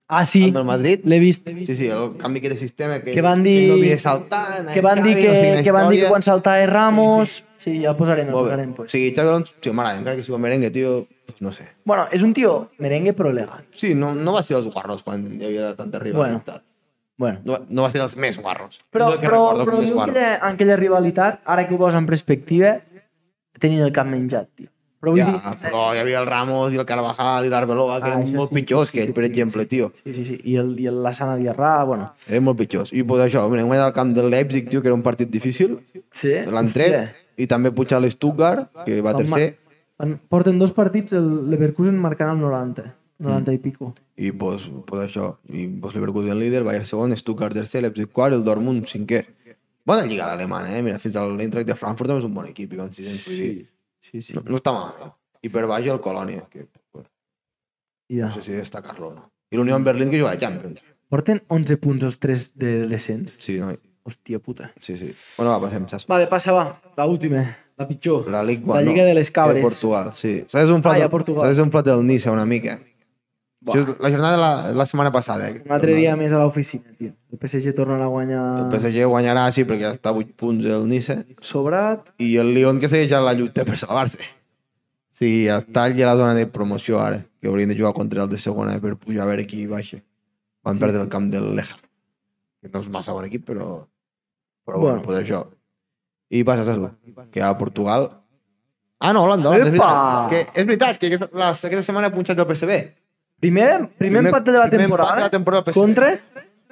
Speaker 1: Ah, sí.
Speaker 2: amb el Madrid.
Speaker 1: L'he vist.
Speaker 2: Sí, sí, el canvi que de sistema que,
Speaker 1: Que van
Speaker 2: que
Speaker 1: dir-
Speaker 2: no havia saltant,
Speaker 1: Que van dir
Speaker 2: Xavi, no sé
Speaker 1: que,
Speaker 2: quina
Speaker 1: que van dir
Speaker 2: història.
Speaker 1: que quan saltava Ramos... Sí, ja el posarem, el
Speaker 2: Molt bé.
Speaker 1: posarem.
Speaker 2: O
Speaker 1: Pues.
Speaker 2: sigui, Xavi Alonso, tio, m'agrada, encara que sigui un merengue, tio, no sé.
Speaker 1: Bueno, és un tio merengue però elegant.
Speaker 2: Sí, no, no va ser dels guarros quan hi havia tanta rivalitat.
Speaker 1: Bueno.
Speaker 2: No, va- no va ser dels més guarros.
Speaker 1: Però,
Speaker 2: És el que
Speaker 1: però,
Speaker 2: recordo
Speaker 1: però
Speaker 2: com més
Speaker 1: diu que
Speaker 2: guarro.
Speaker 1: aquella, aquella rivalitat, ara que ho posa en perspectiva, tenien el cap menjat, tio. Però vull
Speaker 2: Ja,
Speaker 1: dir...
Speaker 2: però hi havia el Ramos i el Carvajal i l'Arbeloa, que
Speaker 1: Ah,
Speaker 2: eren
Speaker 1: això
Speaker 2: molt
Speaker 1: sí,
Speaker 2: pitjors
Speaker 1: sí,
Speaker 2: que
Speaker 1: sí,
Speaker 2: ell, per
Speaker 1: sí,
Speaker 2: exemple, tio.
Speaker 1: Sí, sí, sí. I, el, i el, la Sana Diarra, bueno...
Speaker 2: Eren molt pitjors. I pues, això, mira, hem guanyat el camp del Leipzig, tio, que era un partit difícil.
Speaker 1: Sí,
Speaker 2: L'han tret. I també pujar l'Stuttgart, que va
Speaker 1: Eh, Home.
Speaker 2: tercer.
Speaker 1: En- Porten dos partits, el Leverkusen marcant el 90. 90 i pico.
Speaker 2: I pues, pues això, i pues, Leverkusen líder, Bayern segon, Stuttgart tercer, Leipzig quart, el Dortmund cinquè. Bona lliga l'alemana, eh? Mira, fins al l'Eintracht de Frankfurt també és un bon equip, i van sisens, vull dir,
Speaker 1: Sí, sí.
Speaker 2: no, no està malament. I per baix el Colònia, que bueno,
Speaker 1: Ja.
Speaker 2: no sé si destacar-lo o no. I l'Unió en Berlín que jugava a Champions.
Speaker 1: Porten 11 punts els tres de descens.
Speaker 2: Sí, no?
Speaker 1: Hòstia puta.
Speaker 2: Sí, sí. Bueno, va, passem, saps?
Speaker 1: Vale, passa, va. La última, la pitjor.
Speaker 2: La Ligue
Speaker 1: La Lliga de les Cabres.
Speaker 2: Portugal, sí. Saps un plat,
Speaker 1: Ah, i a
Speaker 2: ah,
Speaker 1: Portugal.
Speaker 2: Saps un plat del Nice, una mica.
Speaker 1: Buah.
Speaker 2: Això és la jornada de la, la setmana passada. Eh?
Speaker 1: Un altre dia més a l'oficina, tio. El PSG tornarà a guanyar
Speaker 2: El PSG guanyarà, sí, perquè ja està a 8 punts el Nice.
Speaker 1: sobrat.
Speaker 2: i el Lyon que segueix a la lluita per salvar-se. O sigui, està allà a la zona de promoció ara, que haurien de jugar contra el de segona per pujar a veure qui baixa. Van
Speaker 1: Sí,
Speaker 2: perdre
Speaker 1: sí.
Speaker 2: el camp del Leja, que no és massa bon equip, però, però
Speaker 1: Bueno.
Speaker 2: bueno, bueno pues això. I passa això, que a Portugal... Ah, no, Holanda, Holanda, és
Speaker 1: Epa!
Speaker 2: veritat. Que és veritat, que aquesta, la, aquesta setmana ha punxat el PSV.
Speaker 1: Primer, primer, empat de la
Speaker 2: primer empat
Speaker 1: temporada.
Speaker 2: de la temporada del PSV.
Speaker 1: Contra?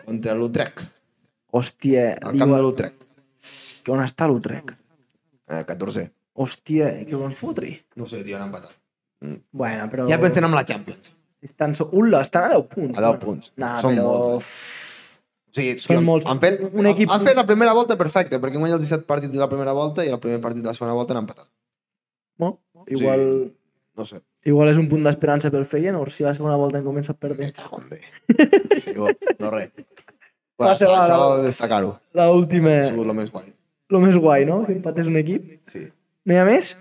Speaker 2: Contra l'Utrecht,
Speaker 1: Hòstia,
Speaker 2: al camp
Speaker 1: diu,
Speaker 2: de l'Utrecht.
Speaker 1: que on està l'Utrecht?
Speaker 2: Eh, 14.
Speaker 1: Hòstia, que ho van fotre.
Speaker 2: No sé, tio, han empatat.
Speaker 1: Bueno, però...
Speaker 2: Ja pensem en la Champions.
Speaker 1: Estan so... Ula, estan a 10 punts.
Speaker 2: A 10
Speaker 1: bueno.
Speaker 2: punts.
Speaker 1: Nah,
Speaker 2: Són
Speaker 1: però...
Speaker 2: molts, eh?
Speaker 1: Uf,
Speaker 2: O sigui,
Speaker 1: Són
Speaker 2: tio,
Speaker 1: molts.
Speaker 2: Han fet,
Speaker 1: Un
Speaker 2: un
Speaker 1: equip-
Speaker 2: equip... han fet la primera volta perfecta, perquè han guanyat els 17 partits de la primera volta i el primer partit de la segona volta han empatat.
Speaker 1: Bueno, igual,
Speaker 2: No sé.
Speaker 1: igual és un punt d'esperança pel Feyenoord si la segona volta han començat
Speaker 2: Me
Speaker 1: perdent.
Speaker 2: cago en Déu. Sí, bo, no
Speaker 1: <laughs>
Speaker 2: res.
Speaker 1: Va,
Speaker 2: Va,
Speaker 1: se
Speaker 2: això
Speaker 1: va,
Speaker 2: això
Speaker 1: va.
Speaker 2: destacar-ho.
Speaker 1: La última,
Speaker 2: Ha sigut el més guai.
Speaker 1: lo més guai, no? Que empatés un equip.
Speaker 2: Sí.
Speaker 1: No hi ha més?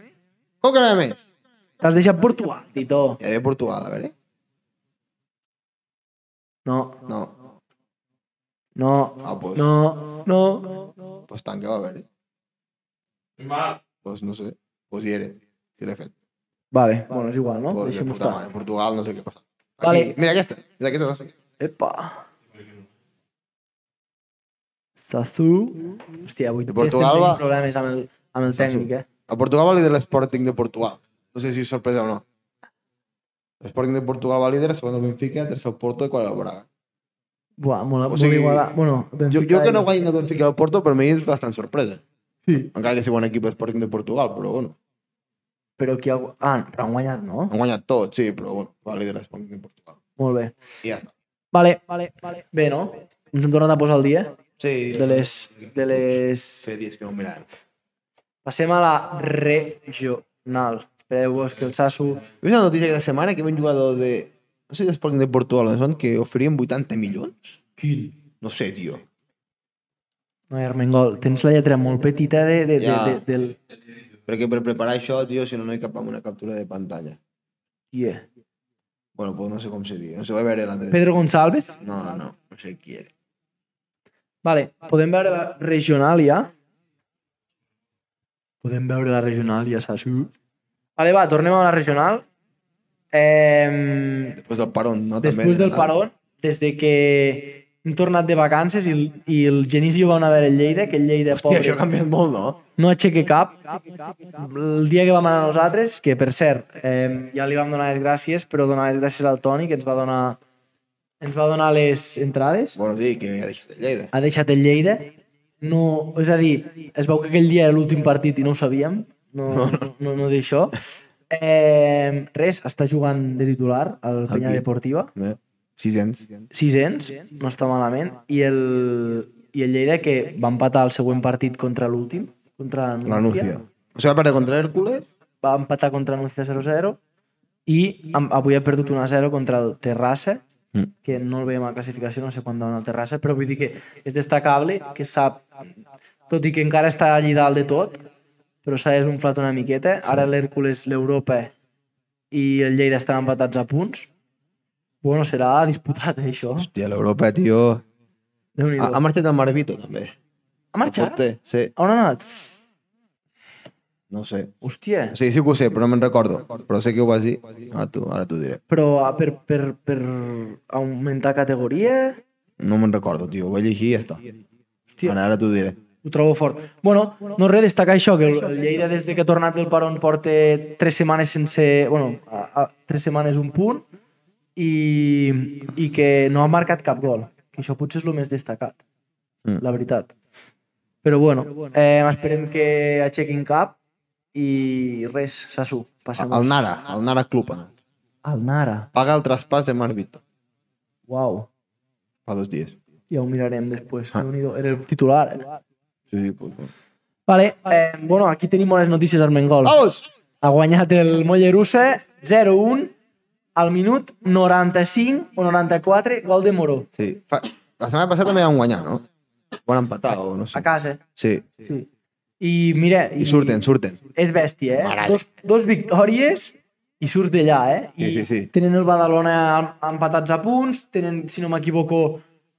Speaker 2: Com que no hi ha més?
Speaker 1: T'has deixat Portugal, Tito.
Speaker 2: Hi havia Portugal, a veure.
Speaker 1: No,
Speaker 2: No.
Speaker 1: no,
Speaker 2: Ah, pues,
Speaker 1: no,
Speaker 2: no.
Speaker 1: no.
Speaker 2: pues tanqueu, a veure.
Speaker 4: Ma,
Speaker 2: Pues no sé. Pues hi era. Si l'he fet.
Speaker 1: Vale, bueno, és igual, no?
Speaker 2: Pues, de
Speaker 1: Oh, Deixem-ho
Speaker 2: puta
Speaker 1: estar.
Speaker 2: mare. Portugal, no sé què passa. Aquí,
Speaker 1: Vale.
Speaker 2: Mira aquesta. Mira aquesta.
Speaker 1: Epa. Sassu. Hòstia, avui
Speaker 2: De Portugal
Speaker 1: estem tenint
Speaker 2: va-
Speaker 1: problemes amb el, amb el
Speaker 2: Sassu.
Speaker 1: tècnic, eh?
Speaker 2: A Portugal va líder l'Sporting de Portugal. No sé si és sorpresa o no. L'Sporting de Portugal va líder, segon el Benfica, tercer el Porto i quart el Braga.
Speaker 1: Buah, molt,
Speaker 2: O
Speaker 1: molt
Speaker 2: sigui,
Speaker 1: igualat. Bueno,
Speaker 2: Jo,
Speaker 1: Benfica
Speaker 2: jo que
Speaker 1: i-
Speaker 2: no guanyin el Benfica i el Porto, per mi és bastant sorpresa.
Speaker 1: Sí.
Speaker 2: Encara que sigui un equip l'Sporting de Portugal, però bueno.
Speaker 1: Però qui ha... gu- Ah, però han guanyat, no?
Speaker 2: Han guanyat tot, sí, però bueno, va líder l'Sporting de Portugal.
Speaker 1: Molt bé.
Speaker 2: I ja està.
Speaker 1: Vale, vale, vale. Bé, no? Ens hem tornat a posar al dia
Speaker 2: Sí,
Speaker 1: de les... De les...
Speaker 2: Feia dies que no ho miràvem.
Speaker 1: Passem a la regional. Espereu-vos que el Sassu...
Speaker 2: He vist una notícia aquesta setmana que hi havia un jugador de... No sé si l'Sporting de Portugal, on són, que oferien 80 milions?
Speaker 1: Quin?
Speaker 2: No sé, tio.
Speaker 1: No, Armengol, tens la lletra molt petita de, de, de,
Speaker 2: Ja.
Speaker 1: de, del...
Speaker 2: Perquè per preparar això, tio, si no, no hi cap amb una captura de pantalla.
Speaker 1: Yeah.
Speaker 2: Bueno, pues no sé com se diu. No sé, vaig veure l'altre.
Speaker 1: Pedro González?
Speaker 2: No, no, no, no sé qui era.
Speaker 1: Vale, podem veure la regional ja? Podem veure la regional ja, Sassu? Vale, va, tornem a la regional. Eh,
Speaker 2: Després del paron, no?
Speaker 1: després del
Speaker 2: no?
Speaker 1: parón, des de que hem tornat de vacances i, el- i el Genís i ho van anar a veure el Lleida, que el Lleida
Speaker 2: Hòstia,
Speaker 1: pobre
Speaker 2: això ha canviat molt, no?
Speaker 1: no aixeca cap. El dia que vam anar nosaltres, que per cert, eh, ja li vam donar les gràcies, però donar les gràcies al Toni, que ens va donar, ens va donar les entrades
Speaker 2: Bueno, sí, que ha deixat el Lleida.
Speaker 1: ha deixat el Lleida. No, és a dir, es veu que aquell dia era l'últim partit i no ho sabíem, no, no, no, no d'això. Eh, res, està jugant de titular al Penya
Speaker 2: Aquí.
Speaker 1: Deportiva,
Speaker 2: Eh? 600.
Speaker 1: 600, no està malament, i el, i el Lleida que va empatar el següent partit contra l'últim, contra
Speaker 2: La Núcia.
Speaker 1: Núcia,
Speaker 2: O sigui, va perdre contra Hércules.
Speaker 1: va empatar contra Núcia 0-0 i am- avui ha perdut 1-0 contra el Terrassa,
Speaker 2: Mm.
Speaker 1: que no el veiem a la classificació, no sé quan dona el Terrassa, però vull dir que és destacable, que sap, tot i que encara està allí dalt de tot, però s'ha desunflat una miqueta. Ara l'Hèrcules, l'Europa i el Lleida estan empatats a punts. Bueno, serà disputat, eh, això.
Speaker 2: Hòstia, l'Europa, tio.
Speaker 1: déu nhi
Speaker 2: Ha, ha marxat el Marvito, també.
Speaker 1: Ha marxat?
Speaker 2: El porter, Sí,
Speaker 1: On ha anat?
Speaker 2: no sé.
Speaker 1: Hòstia.
Speaker 2: Sí, sí que ho sé, però no me'n recordo. Però sé que ho vas dir. Ara tu, ara t'ho diré.
Speaker 1: Però ah, per, per, per augmentar categoria...
Speaker 2: No me'n recordo, tio. Ho vaig llegir i ja està.
Speaker 1: Hòstia.
Speaker 2: Ara, ara t'ho diré.
Speaker 1: Ho trobo fort. bueno, no res, destacar això, que el el Lleida des de que ha tornat del Paron porta tres setmanes sense... bueno, a, a, tres setmanes un punt i, i que no ha marcat cap gol. Que això potser és el més destacat,
Speaker 2: Mm.
Speaker 1: la veritat. Però bueno, eh, esperem que aixequin cap i res, Sasu, doncs. passem
Speaker 2: El Nara, el Nara Club ha anat.
Speaker 1: El Nara,
Speaker 2: Paga el traspàs de Marvito.
Speaker 1: uau.
Speaker 2: Fa dos dies.
Speaker 1: Ja ho mirarem després.
Speaker 2: Ah.
Speaker 1: Déu-n'hi-do, Era el titular, eh?
Speaker 2: Sí, sí, pues, pues.
Speaker 1: Vale, eh, bueno, aquí tenim bones notícies al Mengol.
Speaker 2: Vamos!
Speaker 1: ha guanyat el Mollerussa 0-1 al minut 95 o 94, gol de Moró.
Speaker 2: Sí. Fa... La setmana passada també vam guanyar, no? Van empatar o no
Speaker 1: A
Speaker 2: sé.
Speaker 1: casa.
Speaker 2: Sí.
Speaker 1: Sí. I mira...
Speaker 2: I surten, surten.
Speaker 1: És bèstia, eh?
Speaker 2: M'agrada.
Speaker 1: Dos, dos victòries i surt d'allà, eh? I
Speaker 2: Sí, sí, sí.
Speaker 1: tenen el Badalona em- empatats a punts, tenen, si no m'equivoco,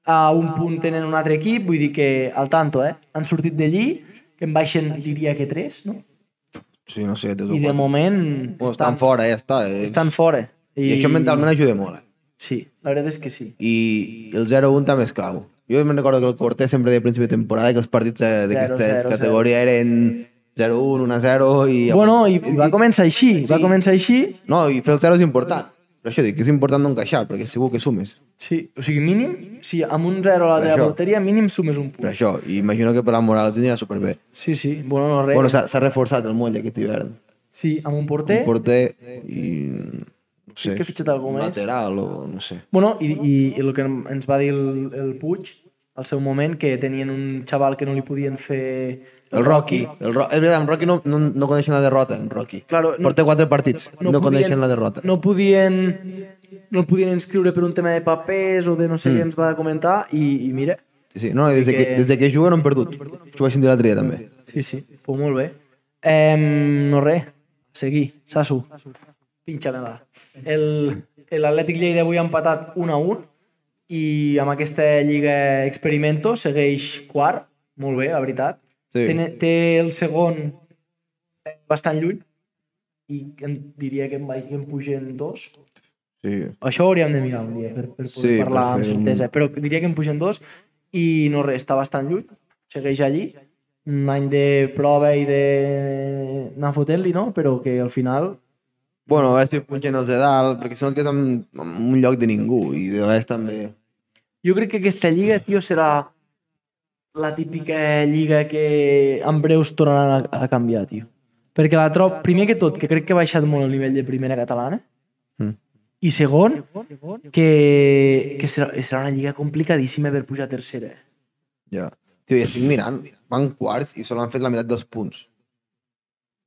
Speaker 1: a un punt tenen un altre equip, vull dir que al tanto, eh? Han sortit d'allí, que en baixen, diria que tres, no?
Speaker 2: Sí, no sé, tres o
Speaker 1: I de
Speaker 2: quatre.
Speaker 1: moment
Speaker 2: Bueno, estan fora, ja està. Eh?
Speaker 1: estan fora.
Speaker 2: I... això mentalment ajuda molt. Eh?
Speaker 1: Sí, la veritat és que sí.
Speaker 2: I el 0-1 també és clau. Jo me'n recordo que el Cortés sempre deia a principi de temporada que els partits eh, d'aquesta
Speaker 1: 0-0.
Speaker 2: categoria eren 0-1, 1-0 i...
Speaker 1: Bueno, i, i va començar així, sí. va
Speaker 2: Sí.
Speaker 1: començar així.
Speaker 2: pues. No, i fer el 0 és important. Per això dic que és important no encaixar, perquè segur que sumes.
Speaker 1: Sí, o sigui, mínim, si amb un 0 a la
Speaker 2: Per
Speaker 1: teva
Speaker 2: això.
Speaker 1: porteria, mínim sumes un
Speaker 2: Per
Speaker 1: punt.
Speaker 2: això, i imagino que per la moral els anirà superbé.
Speaker 1: Sí, sí, bueno, no res.
Speaker 2: Bueno, s'ha s'ha reforçat el moll aquest hivern.
Speaker 1: sí, amb un
Speaker 2: Un
Speaker 1: porter.
Speaker 2: porter i... No sé,
Speaker 1: que ha fitxat algú
Speaker 2: un
Speaker 1: més.
Speaker 2: lateral o no sé.
Speaker 1: Bueno, i, i, i el que em- ens va dir el, el Puig, al seu moment, que tenien un xaval que no li podien fer...
Speaker 2: El Rocky. El Ro... És veritat, en Rocky no, no, no coneixen la derrota, en Rocky.
Speaker 1: Claro, no-
Speaker 2: Porta quatre partits, no,
Speaker 1: podien-
Speaker 2: coneixen la derrota.
Speaker 1: No podien, no el podien inscriure per un tema de papers o de no sé mm. què ens va comentar i, i mira,
Speaker 2: Sí, sí. No, i des, de que,
Speaker 1: que-
Speaker 2: des de que juguen no han perdut. Això ho vaig sentir l'altre dia, també.
Speaker 1: sí, sí, pues molt bé. Eh, no res, seguir, Sasu. Pinxa-me-la. El- L'Atlètic Lleida avui ha empatat 1 a 1 i amb aquesta Lliga Experimento segueix quart, molt bé, la veritat.
Speaker 2: Sí.
Speaker 1: Té, té el segon eh, bastant lluny i em diria que en, vaig- que en pugen dos.
Speaker 2: sí.
Speaker 1: Això ho hauríem de mirar un dia per, per poder
Speaker 2: Sí, per
Speaker 1: parlar amb
Speaker 2: fer un-
Speaker 1: certesa, però diria que en pugen dos i no res, està bastant lluny, segueix allí, un any de prova i de anar fotent-li, no? Però que al final
Speaker 2: Bueno, a veure si punxen els de dalt, perquè són els que estan en un lloc de ningú, i de vegades també...
Speaker 1: Jo crec que aquesta lliga, tio, serà la típica lliga que en breus tornaran a, a canviar, tio. Perquè la trob, primer que tot, que crec que ha baixat molt el nivell de primera catalana,
Speaker 2: Mm.
Speaker 1: i segon, que, que serà, serà una lliga complicadíssima per pujar a tercera.
Speaker 2: Ja. Tio, i estic mirant, van quarts i solo han fet la meitat dels punts.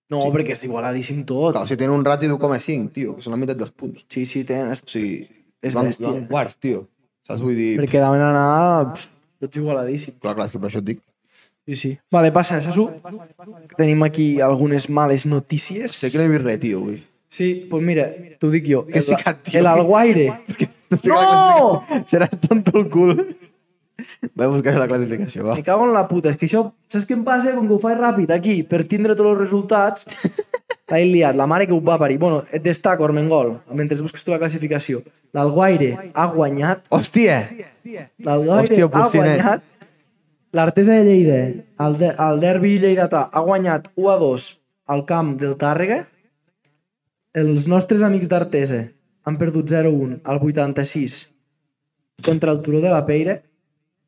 Speaker 1: No, sí. perquè és igualadíssim tot.
Speaker 2: Clar, o sigui, tenen un rati d'1,5, tio, que són la meitat dels punts.
Speaker 1: Sí, sí, tens...
Speaker 2: O sigui,
Speaker 1: És
Speaker 2: van,
Speaker 1: bèstia.
Speaker 2: van quarts, tio. Saps? Vull dir...
Speaker 1: Perquè davant anar... Pff, tots igualadíssim.
Speaker 2: Clar, clar, és que per això et dic.
Speaker 1: Sí, sí. Vale, passa, Sasu. que Tenim aquí algunes males notícies.
Speaker 2: Sé que no he vist res, tio, <laughs> avui.
Speaker 1: Sí, pues mira, t'ho dic jo.
Speaker 2: Què has
Speaker 1: El-
Speaker 2: ficat, tio?
Speaker 1: El
Speaker 2: <laughs>
Speaker 1: Alguaire. No!
Speaker 2: Seràs tonto el cul. Vaig buscar la classificació, va.
Speaker 1: Me
Speaker 2: <laughs>
Speaker 1: cago en la puta. És que això, saps què em passa? Com que ho faig ràpid aquí, per tindre tots els resultats, l'he liat, la mare que ho va parir. Bueno, et destaco, Armengol, mentre busques tu la classificació. L'Alguaire ha guanyat,
Speaker 2: Hòstia!
Speaker 1: l'Alguaire
Speaker 2: Hòstia,
Speaker 1: ha
Speaker 2: Pulsinet.
Speaker 1: guanyat, l'Artesa de Lleida, eh? el, de, el derbi lleidatà, ha guanyat 1 a 2 al camp del Tàrrega. Els nostres amics d'Artesa han perdut 0-1 al 86 contra el Turó de la Peira,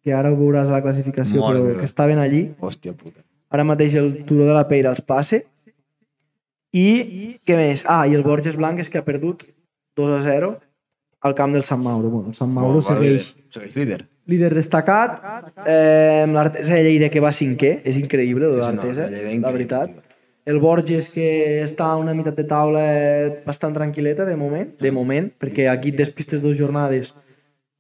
Speaker 1: que ara ho veuràs a la classificació,
Speaker 2: Mare
Speaker 1: però
Speaker 2: meva.
Speaker 1: que estaven allí
Speaker 2: Hòstia puta.
Speaker 1: ara mateix el Turó de la Peira els passe i què més? Ah, i el Borges Blanc és que ha perdut 2 a 0 al camp del Sant Mauro. Bueno, el Sant Mauro
Speaker 2: Bueno, va,
Speaker 1: segueix
Speaker 2: líder. Segueix líder.
Speaker 1: líder destacat, eh, amb l'Artesa de Lleida que va cinquè, és increïble lo de
Speaker 2: Sí, sí, no,
Speaker 1: l'Artesa,
Speaker 2: la Lleida
Speaker 1: la
Speaker 2: increïble,
Speaker 1: veritat.
Speaker 2: tio.
Speaker 1: El Borges que està a una meitat de taula eh, bastant tranquil·leta de moment, de moment, perquè aquí et despistes dues jornades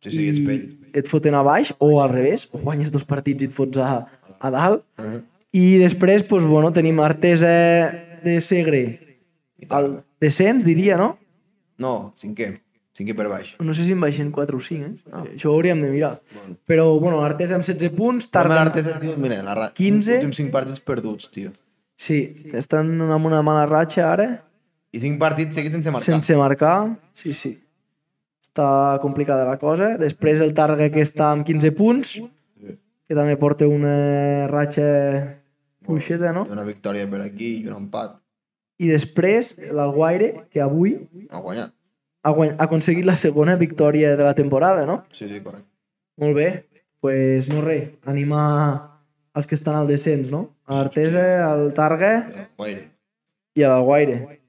Speaker 2: Sí, sí, ets pell.
Speaker 1: i et foten a baix o al revés, o guanyes dos partits i et fots a, a dalt.
Speaker 2: Ah.
Speaker 1: I després, doncs, bueno, tenim Artesa de Segre al descens, diria, no?
Speaker 2: No, cinquè. Cinquè per baix.
Speaker 1: No sé si en baixen 4 o 5, eh?
Speaker 2: Ah.
Speaker 1: Això ho hauríem de mirar.
Speaker 2: Bueno.
Speaker 1: Però, bueno, Artesa amb 16 punts,
Speaker 2: Tarda
Speaker 1: tarda...
Speaker 2: l'Artesa, tio, mira, la ra...
Speaker 1: 15.
Speaker 2: Últims 5 partits perduts, tio.
Speaker 1: Sí, estan amb una mala ratxa ara,
Speaker 2: I 5 partits seguits sense marcar.
Speaker 1: sense marcar. Sí, sí. Està complicada la cosa. Després el Targa que està amb 15 punts, que també porta una ratxa fluixeta, no?
Speaker 2: Té Una victòria per aquí i un empat.
Speaker 1: I després l'Alguaire, que avui
Speaker 2: Ha guanyat.
Speaker 1: ha, guany... ha aconseguit la segona victòria de la temporada, no?
Speaker 2: Sí, sí, correcte.
Speaker 1: Molt bé, doncs pues no res, animar els que estan al descens, no? A Artesa, al Targa
Speaker 2: Guaire.
Speaker 1: i a l'Alguaire.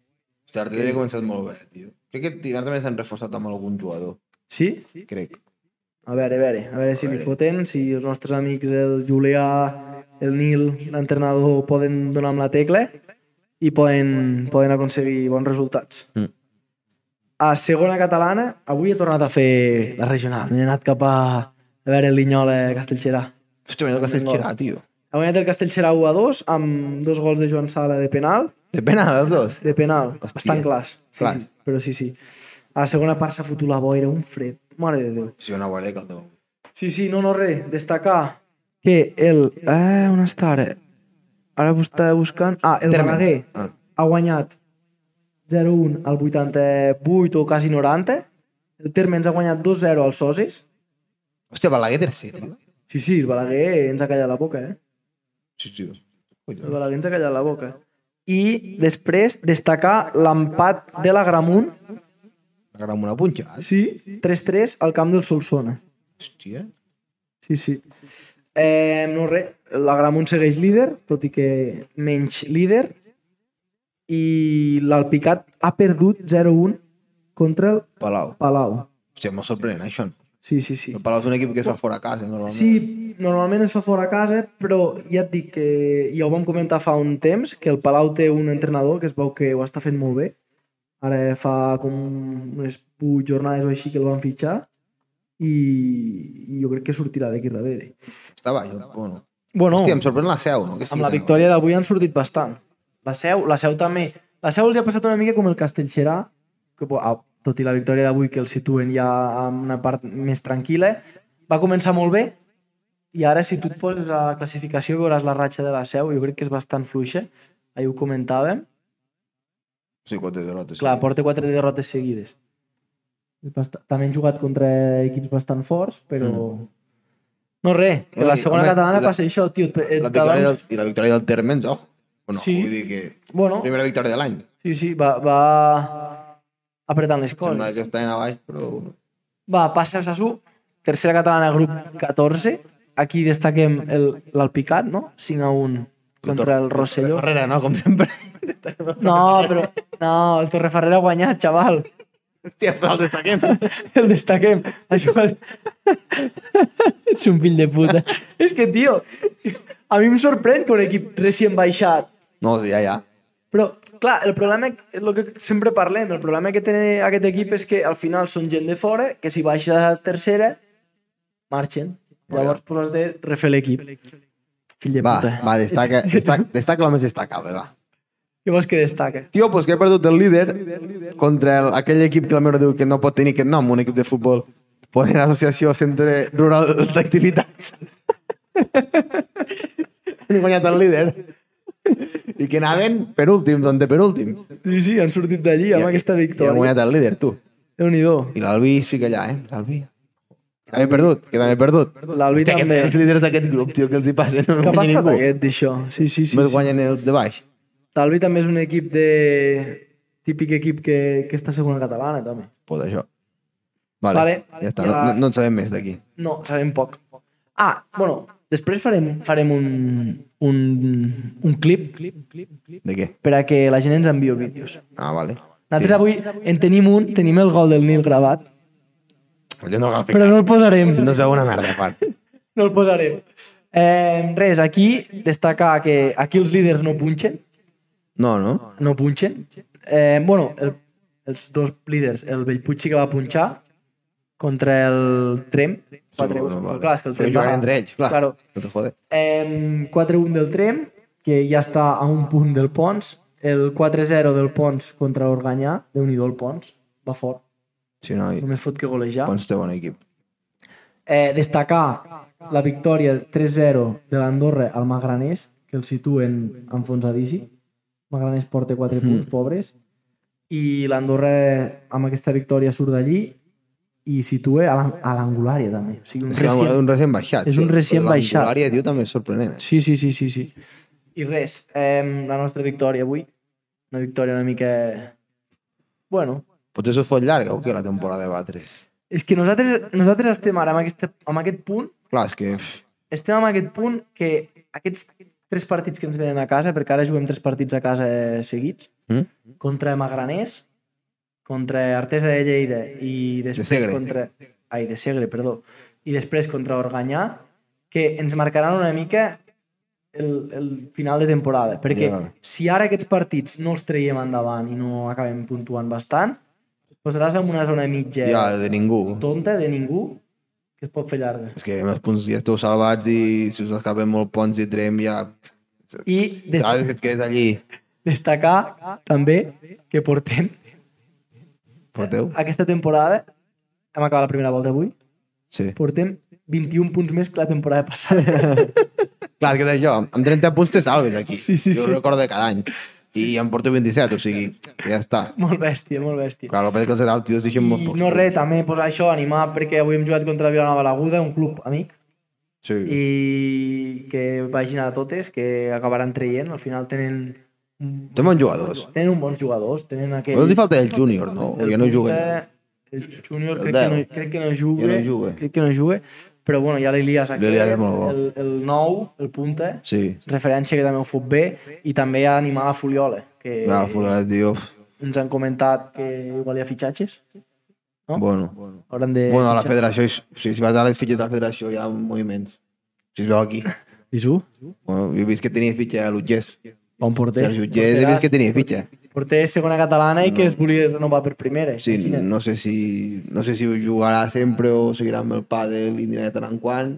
Speaker 2: L'Artesa havia començat molt bé, tio. Crec que Tivars també s'han reforçat amb algun jugador,
Speaker 1: Sí?
Speaker 2: crec.
Speaker 1: A veure, a veure, a veure si
Speaker 2: A
Speaker 1: li
Speaker 2: veure.
Speaker 1: foten, si els nostres amics, el Julià, el Nil, l'entrenador, poden donar amb la tecla i poden, poden aconseguir bons resultats.
Speaker 2: Mm.
Speaker 1: A segona catalana, avui he tornat a fer la regional. He anat cap a, a veure el Linyola Castellxerà.
Speaker 2: Hòstia, mira el que s'ha girat, tio.
Speaker 1: Ha guanyat el Castellxerà 1 a 2 amb dos gols de Joan Sala de penal.
Speaker 2: De penal, els dos.
Speaker 1: De penal,
Speaker 2: Hòstia.
Speaker 1: bastant clars. Sí,
Speaker 2: Clars.
Speaker 1: sí, però sí, sí. A la segona part s'ha fotut la boira, un fred. Mare de Déu.
Speaker 2: Sí, una guarda que el teu.
Speaker 1: Sí, sí, no, no, res. Destacar que el... Eh, on està ara? Ara ho està buscant... Ah, el
Speaker 2: Termes.
Speaker 1: Balaguer
Speaker 2: Ah.
Speaker 1: ha guanyat 0-1 al 88 o quasi 90. El Terme ens ha guanyat 2-0 al Sosis.
Speaker 2: Hòstia, Balaguer tercer, tio.
Speaker 1: Sí, sí, el Balaguer ens ha callat la boca, eh?
Speaker 2: Sí, tio.
Speaker 1: El
Speaker 2: Collons.
Speaker 1: Balaguer ens ha callat la boca. I després destacar l'empat de la Gramunt,
Speaker 2: Agarra'm una punxada.
Speaker 1: sí, 3-3 al camp del Solsona.
Speaker 2: Hòstia.
Speaker 1: Sí, sí. Eh, no res, l'Agramunt segueix líder, tot i que menys líder, i l'Alpicat ha perdut 0-1 contra el
Speaker 2: Palau.
Speaker 1: Palau.
Speaker 2: Hòstia, molt sorprenent, això. no?
Speaker 1: Sí, sí, sí.
Speaker 2: El Palau és un equip que es fa fora a casa, normalment.
Speaker 1: Sí, normalment es fa fora a casa, però ja et dic que ja ho vam comentar fa un temps, que el Palau té un entrenador que es veu que ho està fent molt bé. Ara fa com unes 8 jornades o així que el van fitxar i, i jo crec que sortirà d'aquí darrere.
Speaker 2: Està baix, el bueno.
Speaker 1: Bueno,
Speaker 2: Hòstia, em sorprèn la seu, no? Que sí
Speaker 1: amb la
Speaker 2: que no.
Speaker 1: victòria d'avui han sortit bastant. La seu, la seu també... La seu els ha passat una mica com el Castellxerà, que, bo, ah, tot i la victòria d'avui que el situen ja en una part més tranquil·la, va començar molt bé i ara si tu et poses a la classificació veuràs la ratxa de la seu, jo crec que és bastant fluixa, ahir ho comentàvem.
Speaker 2: Sí, quatre derrotes.
Speaker 1: Clar,
Speaker 2: sí.
Speaker 1: porta quatre derrotes seguides. És bast- També han jugat contra equips bastant forts, però...
Speaker 2: Mm.
Speaker 1: No res, que la
Speaker 2: Home,
Speaker 1: segona
Speaker 2: home,
Speaker 1: catalana
Speaker 2: la-
Speaker 1: passa això, tio. et- et-
Speaker 2: La
Speaker 1: t'adorms-
Speaker 2: victòria del, I la victòria del Termens, oh. Bueno,
Speaker 1: Sí.
Speaker 2: vull dir que...
Speaker 1: Bueno,
Speaker 2: Primera victòria de l'any.
Speaker 1: Sí, sí, va, va apretant les
Speaker 2: Sembla que
Speaker 1: coses.
Speaker 2: estaven a baix, però...
Speaker 1: Va, passa a Sassú, tercera catalana, grup 14. Aquí destaquem el- l'Alpicat, no? 5 a 1 contra el Rosselló.
Speaker 2: Ferrera, no? Com <laughs> sempre.
Speaker 1: No, però... No, el Torreferrera ha guanyat, xaval.
Speaker 2: Hòstia, però el destaquem.
Speaker 1: El destaquem. Ha jugat... <laughs> Ets un fill de puta. És que, tio, a mi em sorprèn que un equip recient baixat
Speaker 2: No, sí, ja, ja.
Speaker 1: Però, clar, el problema, el que sempre parlem, el problema que té aquest equip és que al final són gent de fora, que si baixa a tercera, marxen. Llavors, pues, has de refer l'equip. Fill de
Speaker 2: Va,
Speaker 1: puta.
Speaker 2: va,
Speaker 1: <laughs>
Speaker 2: destaca, destaca, destaca la més destacable, va.
Speaker 1: Què vols que destaca?
Speaker 2: Tio, doncs que he perdut el líder contra el, aquell equip que la meva diu que no pot tenir aquest nom, un equip de futbol. Poden associació centre rural <laughs> d'activitats. Han guanyat el líder. I que anaven doncs, penúltims, on penúltim.
Speaker 1: Sí, sí, han sortit d'allí amb aquesta
Speaker 2: I ha
Speaker 1: victòria.
Speaker 2: guanyat el líder, tu.
Speaker 1: Déu-n'hi-do.
Speaker 2: I l'Albi es fica allà, eh? L'Albi. Que també he perdut, que també he perdut.
Speaker 1: L'Albi
Speaker 2: Hòstia, que
Speaker 1: també.
Speaker 2: Els líders d'aquest grup, tio, que els hi passa? No,
Speaker 1: Què
Speaker 2: no
Speaker 1: ha
Speaker 2: guanya
Speaker 1: passat
Speaker 2: ningú.
Speaker 1: aquest d'això? Sí, sí, sí.
Speaker 2: Només
Speaker 1: sí.
Speaker 2: guanyen els de baix.
Speaker 1: L'Albi també és un equip de... típic equip que, que està a segona catalana, també.
Speaker 2: Pues això. Vale,
Speaker 1: Vale.
Speaker 2: ja està.
Speaker 1: Ja.
Speaker 2: No, no- no en sabem més d'aquí.
Speaker 1: No, sabem poc. Ah, bueno, després farem, farem un, un, un clip
Speaker 2: De què?
Speaker 1: per a que la gent ens enviï vídeos.
Speaker 2: Ah, vale.
Speaker 1: Nosaltres avui en tenim un, tenim el gol del Nil gravat,
Speaker 2: Jo no cal
Speaker 1: però
Speaker 2: ficar.
Speaker 1: no el posarem.
Speaker 2: No es veu una <laughs> merda, a part.
Speaker 1: No el posarem. Eh, res, aquí destacar que aquí els líders no punxen,
Speaker 2: No, no?
Speaker 1: no punxen. Eh, bueno, el, els dos líders, el Bellpuig sí que va punxar contra el Trem, 4-1.
Speaker 2: no, vale.
Speaker 1: Clar, és que el
Speaker 2: Perquè
Speaker 1: Trem
Speaker 2: juguen entre ells, clar.
Speaker 1: Claro.
Speaker 2: No te jode.
Speaker 1: Eh, 4-1 del Trem, que ja està a un punt del Pons. El 4-0 del Pons contra l'Organyà, déu nhi el Pons, va fort.
Speaker 2: Sí, noi.
Speaker 1: Només fot que golejar.
Speaker 2: Pons té bon equip.
Speaker 1: Eh, destacar la victòria 3-0 de l'Andorra al Magranés, que el situen enfonsadíssim. Magranés porta 4
Speaker 2: Hmm.
Speaker 1: punts, pobres. I l'Andorra, amb aquesta victòria, surt d'allí i situa a l'an- a l'angulària, també. O sigui, un
Speaker 2: És que
Speaker 1: recient...
Speaker 2: un recent baixat.
Speaker 1: és un
Speaker 2: tio.
Speaker 1: recent baixat.
Speaker 2: L'àrea, tio, també és sorprenent. eh?
Speaker 1: Sí, sí, sí, sí, sí. I res, eh, la nostra victòria avui, una victòria una mica... Bueno,
Speaker 2: Potser s'ho fot llarga o què, la temporada de batre?
Speaker 1: és que nosaltres, nosaltres estem ara amb, aquesta, amb aquest punt
Speaker 2: Clar, és que... pff,
Speaker 1: estem en aquest punt que aquests tres partits que ens venen a casa, perquè ara juguem tres partits a casa eh, seguits,
Speaker 2: Mm.
Speaker 1: contra Magranés, contra Artesa de Lleida i després
Speaker 2: Segre.
Speaker 1: contra... Ai, de Segre, perdó. I després contra Organyà, que ens marcaran una mica el, el final de temporada. Perquè
Speaker 2: Ja.
Speaker 1: si ara aquests partits no els traiem endavant i no acabem puntuant bastant, posaràs en una zona mitja
Speaker 2: Ja, de ningú.
Speaker 1: tonta de ningú que es pot fer llarga.
Speaker 2: És que amb els punts ja esteu salvats i si us escapen molt ponts i trem ja...
Speaker 1: I des...
Speaker 2: Saps que et quedes allí?
Speaker 1: destacar també que portem
Speaker 2: Porteu?
Speaker 1: aquesta temporada, hem acabat la primera volta avui,
Speaker 2: Sí.
Speaker 1: portem 21 punts més que la temporada passada. <laughs>
Speaker 2: Clar, que jo, amb 30 punts te salves aquí.
Speaker 1: Sí, sí,
Speaker 2: jo
Speaker 1: sí.
Speaker 2: ho recordo cada any. I em porto 27, o sigui, que ja està.
Speaker 1: molt bèstia, molt bèstia.
Speaker 2: Clar, el que passa és que els edals, tios, deixen molt
Speaker 1: I
Speaker 2: pocs.
Speaker 1: no res, també posar això, animar, perquè avui hem jugat contra el Vilanova a l'Aguda, un club amic,
Speaker 2: Sí.
Speaker 1: i que vagin a totes, que acabaran traient, al final tenen, un-
Speaker 2: Té bons jugadors.
Speaker 1: tenen uns bons jugadors, tenen aquell...
Speaker 2: Només li falta el júnior, no? O
Speaker 1: El
Speaker 2: ja no juguen.
Speaker 1: punta, El júnior
Speaker 2: El
Speaker 1: crec, que no,
Speaker 2: deu.
Speaker 1: crec que no juga.
Speaker 2: Ja no juga.
Speaker 1: Crec que no juga. Però bueno, ja l'Elias aquí.
Speaker 2: L'Elias és molt bo.
Speaker 1: El, el nou, el punta,
Speaker 2: Sí.
Speaker 1: referència que també ho fot bé. I també hi ha animar la Fuliola, que
Speaker 2: Clar, Fulgarat, tio.
Speaker 1: ens han comentat que igual hi ha fitxatges. No?
Speaker 2: Bueno.
Speaker 1: Hauran de...
Speaker 2: Bueno, a la
Speaker 1: fitxar.
Speaker 2: federació, és- o sigui, si vas a les fitxes de la federació hi ha moviments. Si es veu aquí.
Speaker 1: I su?
Speaker 2: Bueno, jo he vist que tenia fitxa a l'Utgés.
Speaker 1: Bon porter.
Speaker 2: Sergi Utgés he vist que tenia fitxa.
Speaker 1: Porter segona catalana i que es volia renovar per primera.
Speaker 2: Sí,
Speaker 1: imagina't.
Speaker 2: no sé si, no sé si ho jugarà sempre o seguirà amb el pàdel i anirà de tant en quant,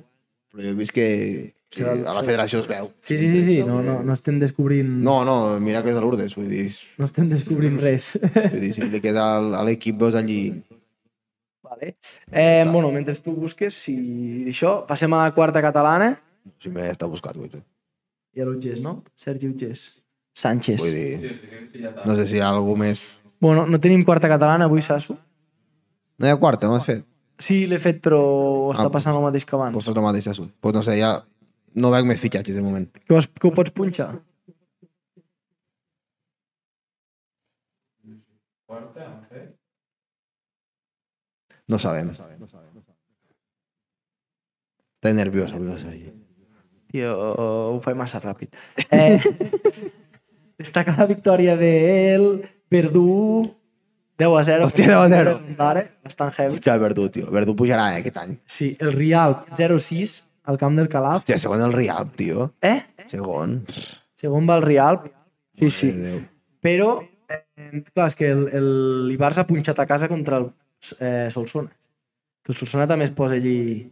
Speaker 2: però jo he vist que sí, a la federació es veu.
Speaker 1: Sí, sí, sí, sí. No, no, no estem descobrint...
Speaker 2: No, no, mira que és a Lourdes, vull dir, és-
Speaker 1: No estem descobrint
Speaker 2: <laughs>
Speaker 1: res.
Speaker 2: vull dir si li queda al- a l'equip veus allí...
Speaker 1: Vale. Eh, bueno, mentre tu busques, si això, passem a la quarta catalana
Speaker 2: Si m'he d'estar buscat, vull dir.
Speaker 1: i a l'Utgés, no? Sergi Utgés. Sánchez.
Speaker 2: Vull dir, no sé si hi ha algú més...
Speaker 1: Bueno, no tenim quarta catalana avui, Sasso.
Speaker 2: No hi ha quarta, no has fet?
Speaker 1: Sí, l'he fet, però està
Speaker 2: Ah.
Speaker 1: passant el mateix que abans.
Speaker 2: Doncs és el mateix assunt. Doncs no sé, ja... No veig més fitxatges de moment.
Speaker 1: Que, vols, que ho pots punxar?
Speaker 2: No sabem. Estic nerviós, avui, Sergi.
Speaker 1: Tio, ho faig massa ràpid. <laughs> Eh, destaca la victòria del Verdú 10 a 0.
Speaker 2: Hòstia, 10 a 0.
Speaker 1: Ara, bastant heavy.
Speaker 2: Hòstia, el Verdú, tio. El Verdú pujarà, eh, aquest any.
Speaker 1: Sí, el Rialp 0-6 al camp del Calaf.
Speaker 2: Hòstia, segon el Rialp, tio.
Speaker 1: Eh?
Speaker 2: Segon.
Speaker 1: Segon va el Rialp. Sí, sí.
Speaker 2: Déu.
Speaker 1: però eh, clar, és que el, el, el Barça ha punxat a casa contra el eh, Solsona que el Solsona també es posa allí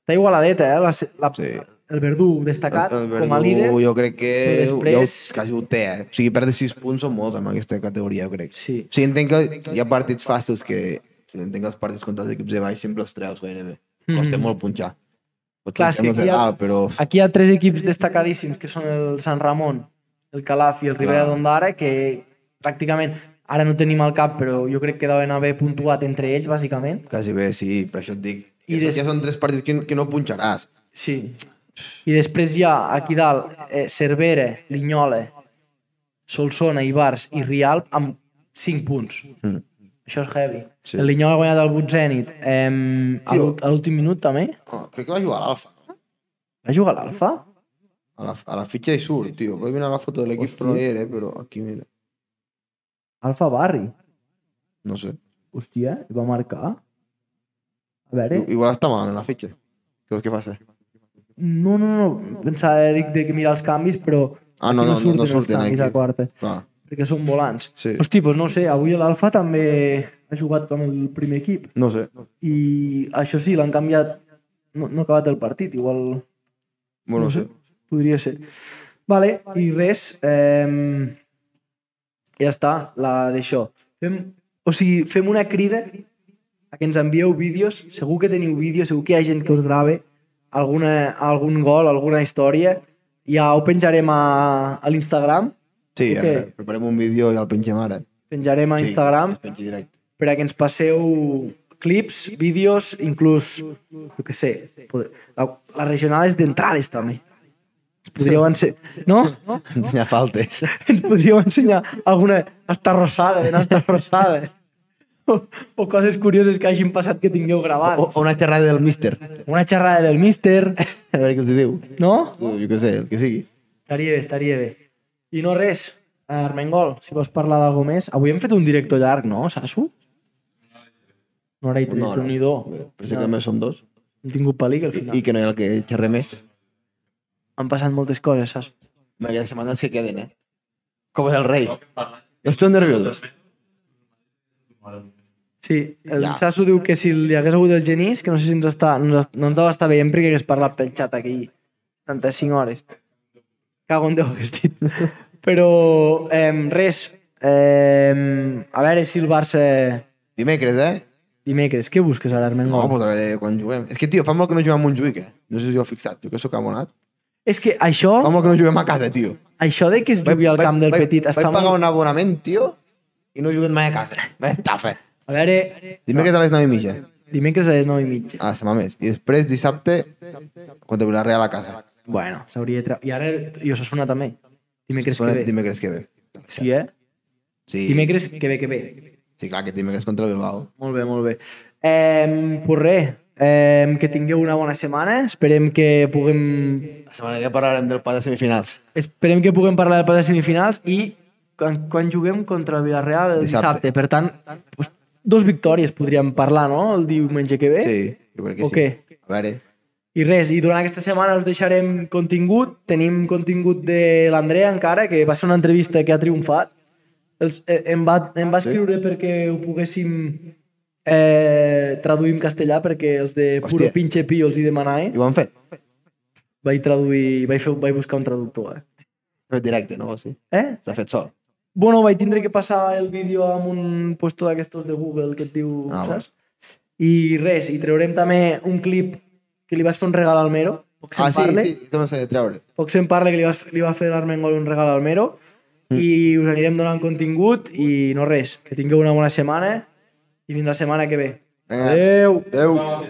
Speaker 1: està igualadeta, eh? La, se- la,
Speaker 2: Sí.
Speaker 1: el Verdú destacat
Speaker 2: El- el
Speaker 1: com a líder
Speaker 2: Jo crec que
Speaker 1: però
Speaker 2: després...
Speaker 1: després-
Speaker 2: jo quasi ho té, eh? O sigui, perdre 6 punts són molts amb aquesta categoria, jo crec.
Speaker 1: sí,
Speaker 2: O sigui, entenc que hi ha partits fàcils que... O sigui, entenc que els partits contra els equips de baix sempre els treus gairebé.
Speaker 1: Mhm.
Speaker 2: Costa molt punxar. Pots
Speaker 1: Clar, és
Speaker 2: punxar
Speaker 1: que
Speaker 2: amb els de
Speaker 1: aquí hi ha-
Speaker 2: dalt, però...
Speaker 1: aquí hi ha tres equips destacadíssims que són el Sant Ramon el Calaf i el Rivera d'Ondara, que pràcticament ara no tenim al cap, però jo crec que deuen haver puntuat entre ells, bàsicament.
Speaker 2: Quasi bé, sí, per això et dic.
Speaker 1: I
Speaker 2: I des...
Speaker 1: des-
Speaker 2: Ja són tres partits que, que no punxaràs.
Speaker 1: Sí. I després hi ha aquí dalt eh, Cervera, Linyola, Solsona, Ibars i Rialp amb 5 punts.
Speaker 2: Mm.
Speaker 1: Això és heavy.
Speaker 2: Sí.
Speaker 1: El Linyola ha guanyat el Butzènit eh, a
Speaker 2: Tio.
Speaker 1: l'ú- a l'últim minut també.
Speaker 2: Oh, crec que va jugar a l'Alfa. no?
Speaker 1: Va jugar a l'Alfa?
Speaker 2: A la, a la fitxa hi surt, tio. Vaig mirar la foto de l'equip, però no hi era, però eh, aquí mira.
Speaker 1: Alfa Barri.
Speaker 2: No sé.
Speaker 1: Hòstia, i va marcar. A veure...
Speaker 2: I- Igual està malament la fitxa. Què vols que passa?
Speaker 1: No, no, no. Pensava, eh, dic, de que mirar els canvis, però
Speaker 2: Ah, no,
Speaker 1: aquí
Speaker 2: no, no, no
Speaker 1: els
Speaker 2: surten
Speaker 1: canvis a
Speaker 2: aquí.
Speaker 1: quarta,
Speaker 2: Clar,
Speaker 1: perquè són volants.
Speaker 2: sí.
Speaker 1: Hosti, doncs no ho sé, avui l'Alfa també ha jugat amb el primer equip.
Speaker 2: No sé.
Speaker 1: I això sí, l'han canviat... No, no ha acabat el partit, igual No
Speaker 2: Bueno, no
Speaker 1: sé.
Speaker 2: sé.
Speaker 1: podria ser. Vale, i res, eh, ja està, la d'això. Fem, o sigui, fem una crida a que ens envieu vídeos, segur que teniu vídeos, segur que hi ha gent que us grave alguna, algun gol, alguna història, ja ho penjarem a, a l'Instagram,
Speaker 2: Sí,
Speaker 1: Ok.
Speaker 2: eh, preparem un vídeo i el pengem ara.
Speaker 1: penjarem a Instagram,
Speaker 2: Sí, el pengi directe.
Speaker 1: per a que ens passeu clips, vídeos, inclús, jo què sé, poder, la, les regionals d'entrades també. Ens podríeu ensenyar, <laughs> no?
Speaker 2: Ensenyar faltes.
Speaker 1: Ens podríeu ensenyar alguna estarrossada, ben estarrossada. O, o coses curioses que hagin passat que tingueu
Speaker 2: O,
Speaker 1: gravades.
Speaker 2: o una xerrada del míster.
Speaker 1: Una xerrada del míster,
Speaker 2: A veure què els hi diu.
Speaker 1: no?
Speaker 2: Jo què sé, el que sigui.
Speaker 1: Estaria bé, estaria bé. I no res, Armengol, si vols parlar d'algú més. Avui hem fet un director llarg, no, Sasu? Una hora i tres,
Speaker 2: Una hora.
Speaker 1: déu-n'hi-do.
Speaker 2: Pensa que només som dos.
Speaker 1: Hem tingut pel·lícula al
Speaker 2: I,
Speaker 1: final.
Speaker 2: I que Pues no hi ha el que xerre més.
Speaker 1: han passat moltes coses, saps?
Speaker 2: Aquestes setmanes que queden, eh? Copa del Rei. Esteu nerviosos?
Speaker 1: Sí, el
Speaker 2: Ja.
Speaker 1: Sasso diu que si li hagués hagut el genís, que no sé si ens està, no ens, no ens deu estar veient perquè hagués parlat pel xat aquí 75 hores. Cago en Déu que estic. Però eh, res, eh, a veure si el Barça
Speaker 2: Dimecres, eh?
Speaker 1: dimecres, què busques ara,
Speaker 2: No,
Speaker 1: Armengol?
Speaker 2: pues a veure quan juguem. És que, tio, fa molt que no juguem a Montjuïc, eh? No sé si ho heu fixat, jo que sóc abonat.
Speaker 1: És que això,
Speaker 2: Fa molt que no juguem a casa, tio.
Speaker 1: això de que es jugui al camp del
Speaker 2: vaig,
Speaker 1: Petit
Speaker 2: vaig
Speaker 1: està
Speaker 2: pagar
Speaker 1: molt...
Speaker 2: un abonament, tio, i no he jugat mai a casa. <laughs> M'estafa.
Speaker 1: A veure,
Speaker 2: Dimecres a les 9 i mitja.
Speaker 1: dimecres a les 9 i mitja.
Speaker 2: Ah, se m'ha més. I després, dissabte, contra Villarreal a casa.
Speaker 1: Bueno, s'hauria de... Tra... I ara, i Osasuna també. Dimecres que
Speaker 2: Bueno,
Speaker 1: ve.
Speaker 2: Dimecres que ve.
Speaker 1: Sí, eh?
Speaker 2: Sí,
Speaker 1: Dimecres que ve, que ve.
Speaker 2: sí, clar, que dimecres contra el Bilbao.
Speaker 1: Molt bé, molt bé. Eh, pues res, eh, que tingueu una bona setmana. Esperem que puguem,
Speaker 2: La setmana que parlarem del pas de semifinals.
Speaker 1: esperem que puguem parlar del pas de semifinals i quan, quan juguem contra Villarreal el dissabte.
Speaker 2: Dissabte.
Speaker 1: Per tant, pues, dos victòries podríem parlar, no?, el diumenge que ve.
Speaker 2: Sí, jo crec que sí.
Speaker 1: ¿Eh? O què?
Speaker 2: A eh. veure,
Speaker 1: I res, i durant aquesta setmana us deixarem contingut. Tenim contingut de l'Andrea encara, que va ser una entrevista que ha triomfat. Els, eh, em, va, em va
Speaker 2: Sí.
Speaker 1: escriure perquè ho poguéssim eh, traduir en castellà, perquè els de Puro
Speaker 2: Hòstia.
Speaker 1: Pinche Pio els hi demanaven.
Speaker 2: i ho han fet.
Speaker 1: Vaig traduir, vaig, fer, vaig buscar un traductor, eh?
Speaker 2: S'ha fet directe, no? Sí.
Speaker 1: Eh?
Speaker 2: S'ha fet sol.
Speaker 1: Bueno, vaig tindre que passar el vídeo amb un puesto d'aquestos de Google que et diu,
Speaker 2: Ah,
Speaker 1: saps? I res, i traurem també un clip que li vas fer un regal al Mero, poc se'n
Speaker 2: Ah, sí,
Speaker 1: parle.
Speaker 2: sí, això no s'ha de treure.
Speaker 1: Poc se'n parla que li va, li va fer l'Armengol un regal al Mero i us anirem donant contingut i no res, que tingueu una bona setmana i fins la setmana que ve.
Speaker 2: Vinga,
Speaker 1: Adeu!
Speaker 2: adeu.